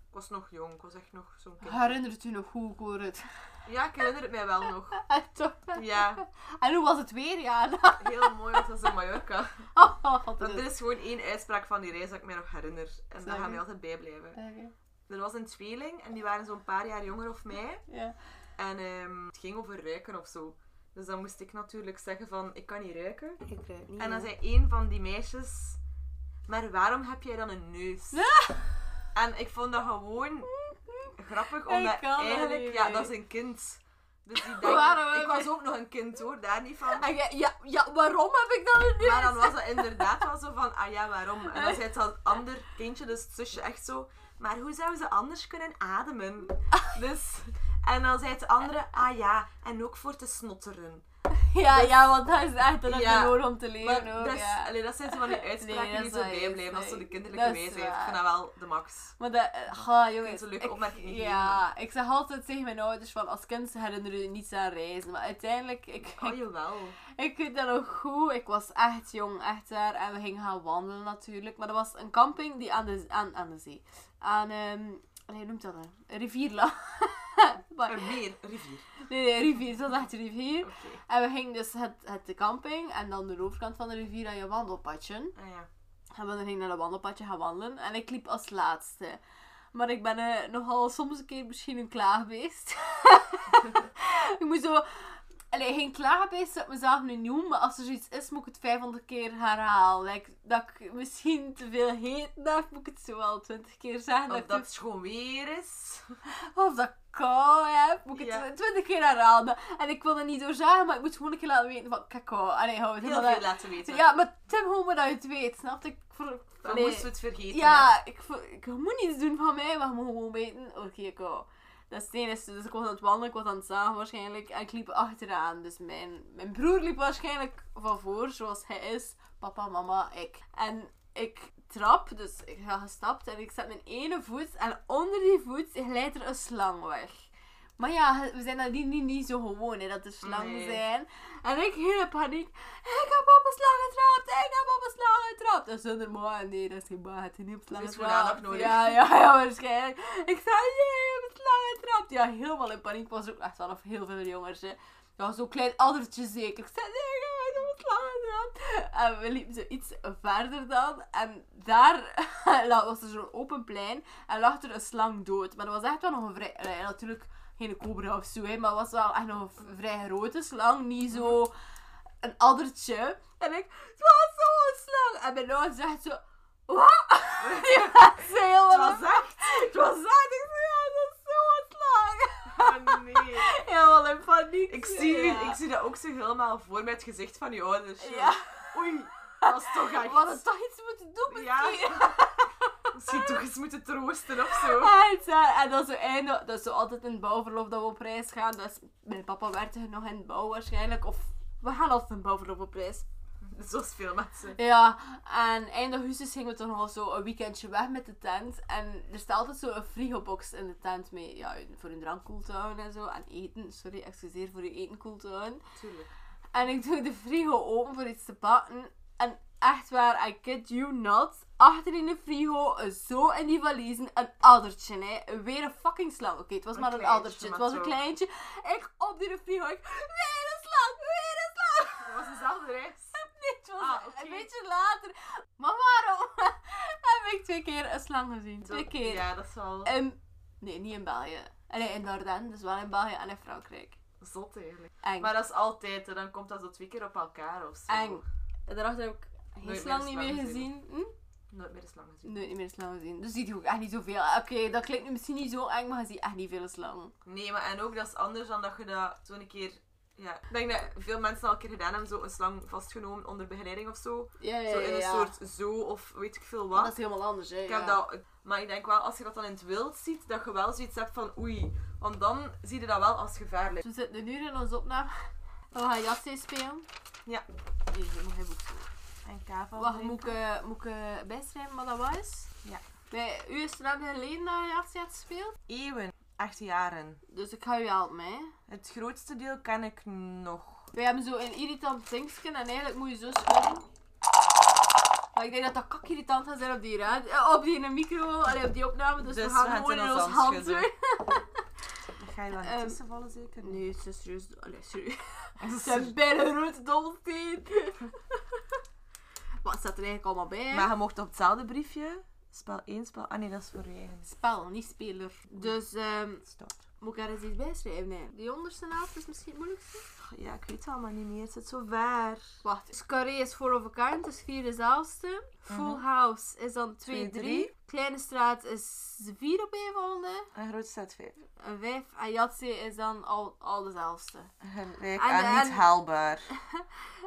A: ik was nog jong, ik was echt nog zo'n kind.
B: Herinnert u nog hoe ik hoor het? (laughs)
A: Ja, ik herinner het mij wel nog.
B: Toch?
A: Ja,
B: En hoe was het weer? Ja, (laughs)
A: heel mooi, want dat was in Mallorca.
B: oh, wat
A: Want
B: is
A: er
B: het?
A: is gewoon één uitspraak van die reis dat ik mij nog herinner. En daar
B: Zeg.
A: gaan mij altijd bij blijven.
B: Oké,
A: Er was een tweeling en die waren zo'n paar jaar jonger of mij.
B: Ja.
A: En ehm, het ging over ruiken of zo. Dus dan moest ik natuurlijk zeggen van, ik kan niet ruiken.
B: Ik ruik niet.
A: En dan zei één van die meisjes, maar waarom heb jij dan een
B: (laughs)
A: neus? En ik vond dat gewoon grappig, omdat
B: kan dat
A: eigenlijk,
B: niet,
A: ja,
B: nee.
A: dat is een kind. Dus
B: (laughs)
A: die
B: Waarom
A: denkt, ik
B: heb
A: was
B: ik-
A: ook nog een kind hoor, daar niet van.
B: En jij- ja, ja, waarom heb ik dat nu?
A: Maar dan was het inderdaad wel zo van, ah ja, waarom? En dan zei het dat ander kindje, dus het zusje, echt zo, maar hoe zou ze anders kunnen ademen? Dus, en dan zei het andere, ah ja, en ook voor te snotteren.
B: Ja, ja, want dat is echt dat
A: Ja.
B: ja. nodig om te
A: Maar
B: leren ook,
A: dat, is-
B: ja.
A: allee, dat zijn zo van die uitspraken
B: Nee, dat
A: die
B: is
A: zo
B: waar,
A: bijblijven als
B: nee.
A: zo de kinderlijke
B: Dat is
A: wijsheid. Ik
B: waar.
A: vind dat wel de max.
B: Maar dat, eh, ga jongens.
A: kunt een leuke
B: ik-
A: opmerking geven.
B: Ja, ik zeg altijd tegen mijn ouders van als kind herinner je niets aan reizen. Maar uiteindelijk, ik,
A: Oh,
B: ik,
A: jawel.
B: ik weet dat nog goed. Ik was echt jong, echt daar. En we gingen gaan wandelen natuurlijk. Maar dat was een camping die aan de, aan, aan de zee. Aan, ehm, hoe noemt dat? Een Een rivier lag. (laughs) Maar-
A: Een meer, rivier.
B: nee, nee, rivier. Het was echt een rivier.
A: Oké.
B: En we gingen dus het, het de camping en dan de overkant van de rivier aan je wandelpadje.
A: Ah ja.
B: En we gingen naar dat wandelpadje gaan wandelen. En ik liep als laatste. Maar ik ben eh, nogal soms een keer misschien een klaagbeest. (laughs) ik moet zo... Allee, geen klaagbeest zou ik mezelf nu noemen. Maar als er zoiets is, moet ik het 500 keer herhalen. Like, dat ik misschien te veel heet heb, moet ik het zo wel 20 keer zeggen.
A: Of
B: ik
A: dat het schoon weer is.
B: of dat ik kou heb. Moet ik het
A: Ja.
B: twintig keer herhalen. En ik wil er niet door zeggen, maar ik moet gewoon een keer laten weten van... Kijk, kou. Allee, hou het
A: Heel
B: helemaal
A: veel
B: uit.
A: laten weten.
B: Ja, maar Tim, hoe maar dat je het weet, snap je? Ik ver-
A: Dan
B: Allee.
A: moesten we het vergeten. hè.
B: Ja, ik, vo- ik moet niets doen van mij, maar je moet gewoon weten... Oké, ik hou. Dat is het enige. Dus ik was aan het wandelen, ik was aan het zagen waarschijnlijk. En ik liep achteraan. Dus mijn, mijn broer liep waarschijnlijk van voor, zoals hij is. Papa, mama, ik. En ik trap, dus ik ga gestapt. En ik zet mijn ene voet. En onder die voet glijdt er een slang weg. Maar ja, we zijn dat niet, niet, niet zo gewoon, hè, dat er slangen
A: Nee.
B: zijn. En ik hele paniek. Ik heb op een slang getrapt, ik heb op een slang getrapt. Dat is zonder maar, nee, dat is geen baat. Het is niet op slang
A: Dus we
B: getrapt.
A: gaan ook nodig.
B: Ja, (laughs) ja, ja, waarschijnlijk. Ik zei, nee, ik heb een slang getrapt. Ja, helemaal in paniek. Ik was ook echt wel of heel veel jongens, hè. Ja, zo'n klein addertje zeker. Ik zei, nee, ik heb een slang getrapt. En we liepen zo iets verder dan. En daar (laughs) was er zo'n open plein. En lag er een slang dood. Maar dat was echt wel nog een vrij... eh, natuurlijk geen cobra of zo, hè, maar was wel echt nog een v- vrij grote slang. Niet zo een addertje. En ik... Het was zo'n slang! En mijn ouders zegt zo... Wat? (laughs) Ja, ze helemaal...
A: Het was echt.
B: het was echt... Ik zei, ja, dat is zo'n slang!
A: Oh nee.
B: (laughs) Helemaal in paniek.
A: Ik zie, u,
B: Ja.
A: ik zie dat ook zo helemaal voor met het gezicht van je ouders.
B: Ja,
A: Oei, dat is toch
B: we
A: echt.
B: hadden toch iets moeten doen
A: Ja.
B: misschien. (laughs)
A: Misschien toch eens moeten troosten of zo.
B: Uit, hè. En dat is, zo einde, dat is zo altijd in het bouwverlof dat we op reis gaan. Dat is, mijn papa werkte nog in het bouw waarschijnlijk. Of we gaan altijd in bouwverlof op reis.
A: Zoals veel mensen.
B: Ja, en eind augustus gingen we toch nog zo een weekendje weg met de tent. En er staat altijd zo een frigobox in de tent mee. Ja, voor hun drank koel te houden en zo. En eten, sorry, excuseer voor je eten koel te houden.
A: Tuurlijk.
B: En ik doe de frigo open voor iets te pakken. En echt waar, I kid you not. Achter in de frigo, zo in die valiezen, een addertje. Hè. Weer een fucking slang. Oké, het was
A: Een
B: maar een
A: kleintje,
B: addertje. Het
A: maar
B: was een
A: toch.
B: kleintje. Ik op die frigo, ik... Weer een slang, weer een slang.
A: Dat was dezelfde reis.
B: Nee, het was
A: Ah, oké.
B: een beetje later. Maar waarom (laughs) heb ik twee keer een slang gezien? Twee keer. Eh.
A: Ja, dat is wel
B: In- nee, niet in België. Allee, in Dardenne, dus wel in België en in Frankrijk.
A: zot eigenlijk.
B: Eng.
A: Maar dat is altijd, hè. dan komt dat zo twee keer op elkaar of zo.
B: Eng. En daarachter heb ik geen
A: Nooit
B: slang
A: meer
B: niet
A: een
B: meer
A: slang
B: gezien. Hm?
C: Nooit meer de slang gezien.
B: Nooit meer een slang gezien. Dus die doe ik echt niet zoveel. Oké, dat klinkt nu misschien niet zo eng, maar je ziet echt niet veel slang.
C: Nee, maar en ook dat is anders dan dat je dat toen een keer... Ja. Ik denk dat veel mensen al een keer gedaan hebben, zo een slang vastgenomen onder begeleiding of zo.
B: Ja, ja,
C: Zo in
B: ja,
C: een
B: ja.
C: soort zoo of weet ik veel
B: Dat
C: wat.
B: is helemaal anders, hè.
C: Ik heb dat, maar ik denk wel, als je dat dan in het wild ziet, dat je wel zoiets hebt van oei. Want dan zie je dat wel als gevaarlijk.
B: We zitten nu in onze opname. We gaan Jassé spelen.
C: Ja.
B: Nee, dat mag hij ook zo.
A: En kava.
B: Wacht, moet ik, eh, moet ik eh, bijschrijven wat dat was?
A: Ja.
B: Bij, u is het lang geleden dat je Jassé hebt gespeeld.
A: Eeuwen. Echt jaren.
B: Dus ik ga u helpen, hè.
A: Het grootste deel ken ik nog.
B: We hebben zo een irritant dingetje en eigenlijk moet je zo schudden. Maar ik denk dat dat kak irritant gaat zijn op die, raad, eh, op die micro, allee, op die opname. Dus,
A: Dus
B: we gaan
A: we gaan
B: gewoon
A: het
B: in
A: in
B: ons
A: ons
B: hand
A: hand schudden. (laughs)
B: doen.
A: Ga je wel
B: Ehm,
A: niet tussenvallen zeker?
B: Nee, het is serieus. Allee, serieus.
A: (laughs)
B: Het zijn bijna grote dolfijn. (laughs) Wat staat er eigenlijk allemaal bij?
A: Maar je mocht op hetzelfde briefje. Spel 1, spel... Ah nee, dat is voor je eigen.
B: Spel, niet speler. Dus ehm,
A: Stop.
B: moet ik er eens iets bij schrijven? Nee. Die onderste helft is misschien het moeilijkste.
A: Ja, ik weet het allemaal niet meer. Het zit zo ver.
B: Wacht, dus carré is 4 of a kind, dus 4 is elfste. Full house is dan 2-3.
A: drie.
B: Kleine straat is 4 op een volgende.
A: En groot staat 5.
B: Een vijf en Yatse is dan al, al dezelfde.
A: Gelijk
B: En-
A: en,
B: en-
A: niet haalbaar.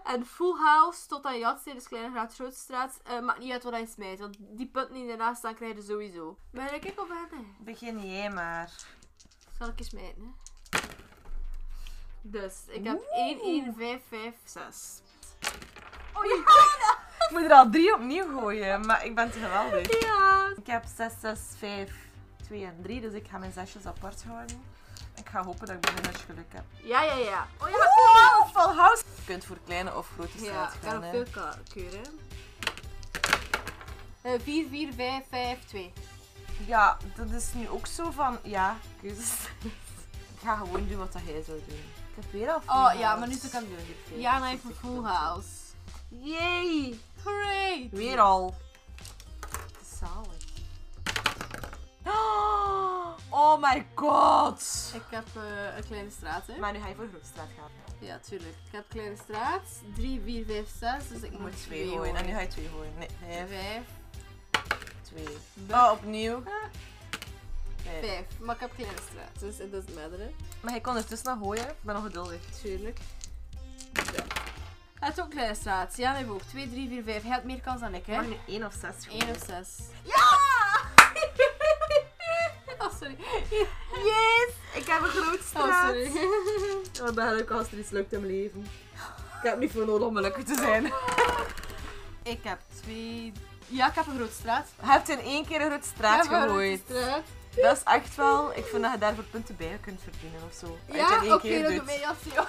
B: En full house tot aan Yatse, dus kleine straat, grote straat, eh, maakt niet uit wat hij smijt. Want die punten die ernaast staan krijg je sowieso. Maar ik op verder.
A: Begin jij maar.
B: Zal ik eens smijten? hè? Dus, ik heb 1, 1, 5, 5, 6. Oh ja!
A: Ik moet er al drie opnieuw gooien, maar ik ben te geweldig.
B: (laughs) Ja!
A: Ik heb 6, 6, 5, 2 en 3, dus ik ga mijn zesjes apart houden. Ik ga hopen dat ik bij mijn zesje geluk heb.
B: Ja, ja, ja. Oh ja!
A: Wow, full house! Je kunt voor kleine of grote
B: Ja,
A: straat
B: ik
A: gaan.
B: kan op
A: hè.
B: veel ka- keuren. Eh 4, 4, 5, 5, 2.
A: Ja, dat is nu ook zo van, ja, keuzes. ik ga gewoon doen wat dat hij zou doen. Ik heb weer al
B: Oh
A: full
B: ja,
A: house.
B: maar nu is het aan de
A: Oké,
B: Jana heeft een
A: 70
B: full
A: punten.
B: house.
A: Yay!
B: Hooray!
A: Weer al. Het is zalig. (gasps) Oh my god!
B: Ik heb eh, een kleine straat, hè?
C: Maar nu ga je voor Grootstraat gaan.
B: Ja, tuurlijk. Ik heb kleine straat. 3, 4, 5, 6. Dus ik
A: Ik moet
B: moet
A: twee gooien. En nu ga je twee gooien. Nee, vijf,
B: 5,
A: twee. Oh, opnieuw. Vijf.
B: 5. Maar ik heb kleine straat, dus het doesn't matter, hè?
A: Maar je kon ertussen nog gooien. Ik ben nog geduldig.
B: Tuurlijk. Zo. Hij had ook kleine straat. Jan heeft ook 2, 3, 4, 5. Hij had meer kans dan ik, hè?
A: Ik mag nu één of zes gooien.
B: 1 of
A: (laughs)
B: 6. Ja! oh, sorry.
C: Yes! Ik heb een Grootstraat.
B: Oh, sorry.
A: Ik ben gelukkig als er iets lukt in mijn leven. Ik heb niet voor nodig om gelukkig te zijn.
B: Ik heb twee... Ja, ik heb een grote straat.
A: Je hebt in één keer een grote straat
B: ik heb een grote
A: gegooid.
B: straat.
A: Dat is echt wel... Ik vind dat je daarvoor punten bij kunt verdienen of zo. Als je het in
B: Ja,
A: één
B: oké,
A: keer
B: dat
A: doet.
B: doet mij (laughs) jasje.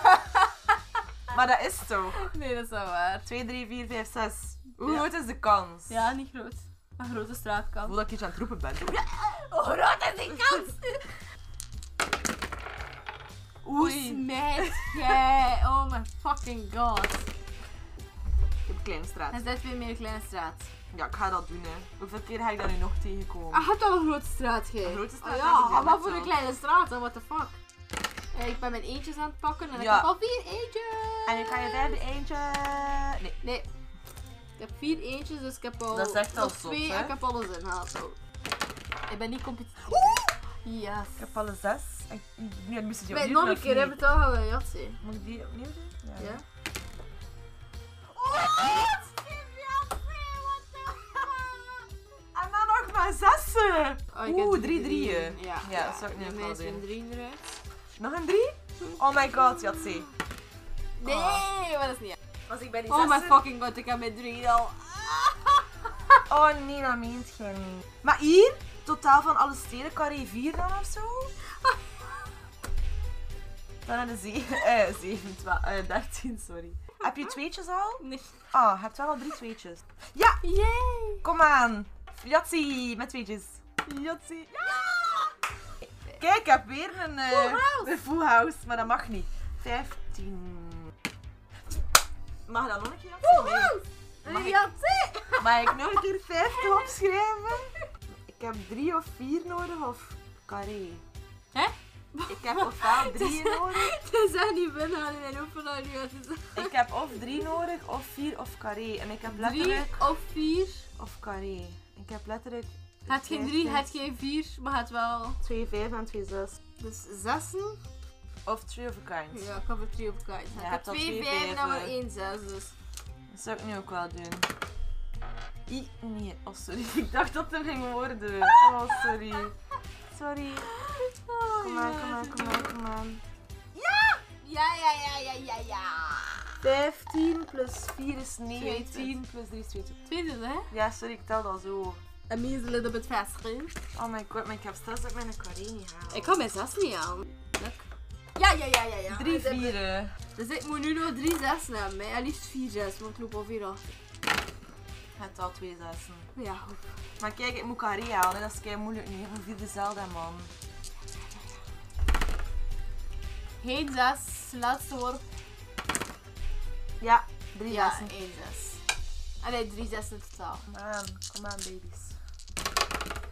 A: Maar dat is toch.
B: Nee, dat is wel waar.
A: 2, 3, 4, 5, 6. Hoe
B: Ja.
A: groot is de kans?
B: Ja, niet groot. Een grote straat
A: Ik
B: kan.
A: voel dat ik iets aan het roepen ben.
B: Oh, groot is die (laughs) kans? Hoe
A: Oei.
B: smijt jij? Oh my fucking god.
A: Ik heb een kleine straat.
B: Hij zet weer meer kleine straat.
A: Ja, ik ga dat doen, hè. Hoeveel keer ga ik daar nu nog tegenkomen?
B: Hij had al een grote straat, gij.
A: Een grote straat, dat
B: Oh,
A: is
B: ja,
A: wel
B: maar
A: net
B: voor
A: zo.
B: een kleine straat, dan what the fuck. Eh, ik ben mijn eentjes aan het pakken en ik
A: Ja.
B: heb al vier eentjes.
A: En ik ga je derde eentje... Nee.
B: Nee. Ik heb vier eentjes, dus ik heb al...
A: Dat is echt
B: nog
A: al zot,
B: twee
A: hè?
B: en ik heb alles ingehaald. Oh. Ik ben niet competitief. Yes.
A: Ik heb alle zes. En... Nee, dan moesten die
B: Wait,
A: opnieuw
B: nog
A: doen,
B: een
A: of
B: keer,
A: niet?
B: hebben we het al gehad, hè.
A: Moet ik die opnieuw doen? Ja.
B: Ja.
A: En dan nog maar zessen!
B: Oh, ik heb
A: Oeh, drie drieën.
B: Ja,
A: Ja, dat zou ik nu ook
B: Mij
A: wel
B: is
A: doen.
B: een drie eruit.
A: Nog een drie? Oh my god, Jatsi. Oh.
B: Nee, maar dat is niet
C: Als ik bij die
B: Oh my
C: zessen-
B: fucking god, ik heb mijn drie al. Ah!
A: Oh nee, dat meent jij niet. Maar hier, totaal van alle steden, carré 4 dan of zo? (laughs) Dan naar de ze- eh, 7, 12, eh, 13, sorry. Heb je tweetjes al?
B: Nee.
A: Ah, je hebt wel al drie tweetjes.
B: Yay!
A: Kom aan. Jatsi, met tweetjes. Jatsi. Ja! Kijk, ik heb weer een, eh, een full house, maar dat mag niet. 15.
C: Mag je dat nog een keer afzien? Nee.
A: Mag ik-
B: Ja,
A: Mag ik nog een keer 50 opschrijven? Ik heb drie of vier nodig, of carré.
B: Hè?
A: Ik heb ofwel drie nodig.
B: (laughs) Ze zijn niet binnen in mijn opener nu. Het is
A: Ik heb of drie nodig, of vier, of carré. En ik heb
B: drie
A: letterlijk...
B: of vier.
A: Of carré. Ik heb letterlijk...
B: Het geen drie,
A: 15,
B: het geen vier, maar het wel.
A: Twee vijf en twee zes.
B: Dus zessen.
A: Of three of a kind.
B: Ja, ik heb er drie op kwijt.
A: Ja,
B: ik heb
A: hebt al
B: twee
A: twee
B: vijven en maar
A: vijven.
B: één zes. Dus.
A: Dat zou ik nu ook wel doen. I, nee. Oh, sorry. (laughs) Ik dacht dat het hem ging worden. Oh, sorry. Sorry. Oh, Kom maar, kom maar, kom maar, kom maar.
B: Ja, ja, ja, ja, ja, ja.
A: 15 plus 4 is
B: 19,
A: 19, plus 3 is 22.
B: Tweede, hè?
A: Ja, sorry, ik tel al zo.
B: Dat means a little bit faster.
A: Oh my god, maar ik heb straks dat ik mijn carré niet haal.
B: Ik kan mijn zes niet aan. Luk. Ja, ja, ja, ja, ja.
A: Drie
B: Dus ik-
A: vieren.
B: Dus ik moet nu nog drie zessen hebben. hè. En liefst vier zes, want ik loop al vier achter.
A: Het al twee zessen.
B: Ja, goed.
A: Maar kijk, ik moet carré halen, hè. dat is kei moeilijk nu. Ik moet vier dezelfde man.
B: Geen zes, laatste worp.
A: Ja, drie
B: Ja,
A: zessen.
B: één zes. Allee, drie zessen in totaal.
A: Kom aan, kom aan baby's.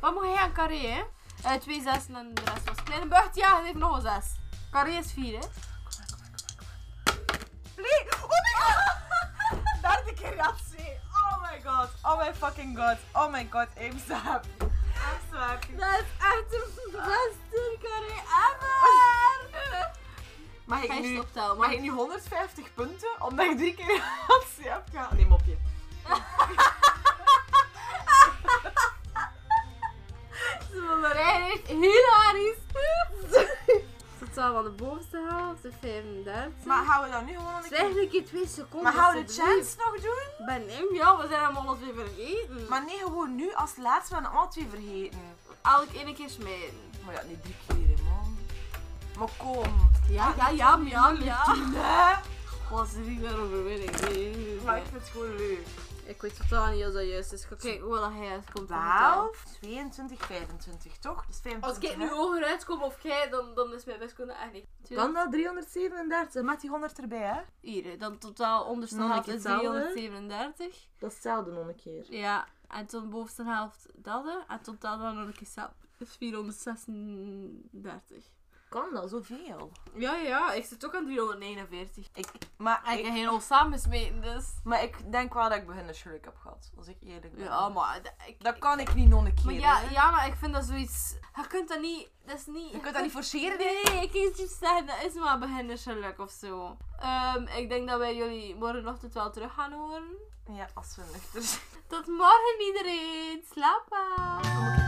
B: Wat moet hij aan carré, hè? Eh, twee zessen en de rest was kleine bucht. Ja, hij heeft nog een zes. Carré is vier, hè?
A: Kom maar, kom maar, kom maar, kom maar. Please! Oh my god! (laughs) Derde keer dat ze. Oh my god. Oh my fucking god. Oh my god, I'm so happy. I'm so happy.
B: Dat is echt de beste carré ever!
A: Mag
B: Ga
A: ik
B: je
A: nu,
B: optellen,
A: mag ik nu 150 punten omdat ik drie keer (laughs) actie heb gehad? Nee, mopje.
B: Ze vonden echt hilarisch. Totaal van de bovenste helft, de 35.
A: Maar gaan we dan nu gewoon een
B: Het is
A: keer...
B: eigenlijk in twee seconden.
A: Maar gaan we de
B: alsjeblieft.
A: chance nog doen?
B: Ben hem, ja, we zijn hem alles weer vergeten.
A: Maar nee, gewoon nu als laatste, we gaan alle twee vergeten.
B: elk ene keer smijten.
A: Maar ja, niet drie keer, hè, man. Maar kom.
B: Ja, ja, ja, ja, ja.
A: Nee.
B: Was er niet meer overwinning? Nee, nee,
A: Maar
B: nee.
A: ik vind het gewoon leuk.
B: Ik weet totaal niet of dat juist is. Ik ga kijken hoe dat hij uitkomt.
A: 12, 22, 25, toch? Dus 25.
B: Als ik nu
A: hè?
B: hoger uitkom of jij, dan, dan is mijn wiskunde echt niet.
A: Dan dat 337, met die 100 erbij, hè?
B: Hier, hè, dan totaal onderste
A: Dan had
B: helft
A: ik
B: is
A: hetzelfde.
B: 337.
A: Dat is hetzelfde nog een keer.
B: Ja, en toen bovenste helft dat hè, en totaal dan nog een keer zelf. Dus 436.
A: Kan dat zoveel?
B: Ja, ja, ik zit ook aan 349.
A: Ik, maar, ik,
B: En Ah, ik heb geen samen smeten, dus.
A: maar ik denk wel dat ik begin een schurk heb gehad, als ik eerlijk ben.
B: Ja, maar. d- Ik,
A: Dat kan ik niet nog een keer.
B: maar ja,
A: hè.
B: ja, maar ik vind dat zoiets. Je kunt dat niet. Dat is niet.
A: Je kunt dat niet forceren, hè?
B: Nee, ik kan iets zeggen, dat is maar beginnersgeluk of zo. Ehm, ik denk dat wij jullie morgenochtend wel terug gaan horen.
A: Ja, als we nuchter zijn.
B: Tot morgen iedereen, slaap aan!